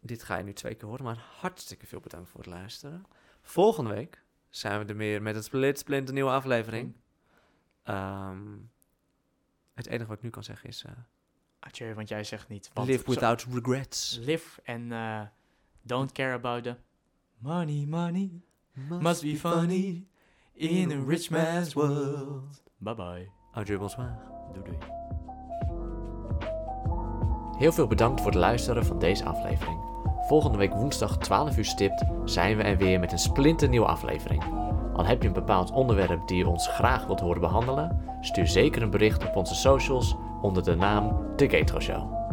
dit ga je nu twee keer horen, maar hartstikke veel bedankt voor het luisteren. Volgende week zijn we er meer met het Split Splint, een nieuwe aflevering. Ehm, het enige wat ik nu kan zeggen is... eh,
Adieu, Ah, want jij zegt niet. Want
live
zo-
without regrets.
live and uh, don't care about the money, money must be funny in a rich man's world. Bye bye.
Adieu, bonsoir.
Doei doei.
Heel veel bedankt voor het luisteren van deze aflevering. Volgende week woensdag 12 uur stipt zijn we er weer met een splinternieuwe aflevering. Al heb je een bepaald onderwerp die je ons graag wilt horen behandelen, stuur zeker een bericht op onze socials onder de naam The Gatro Show.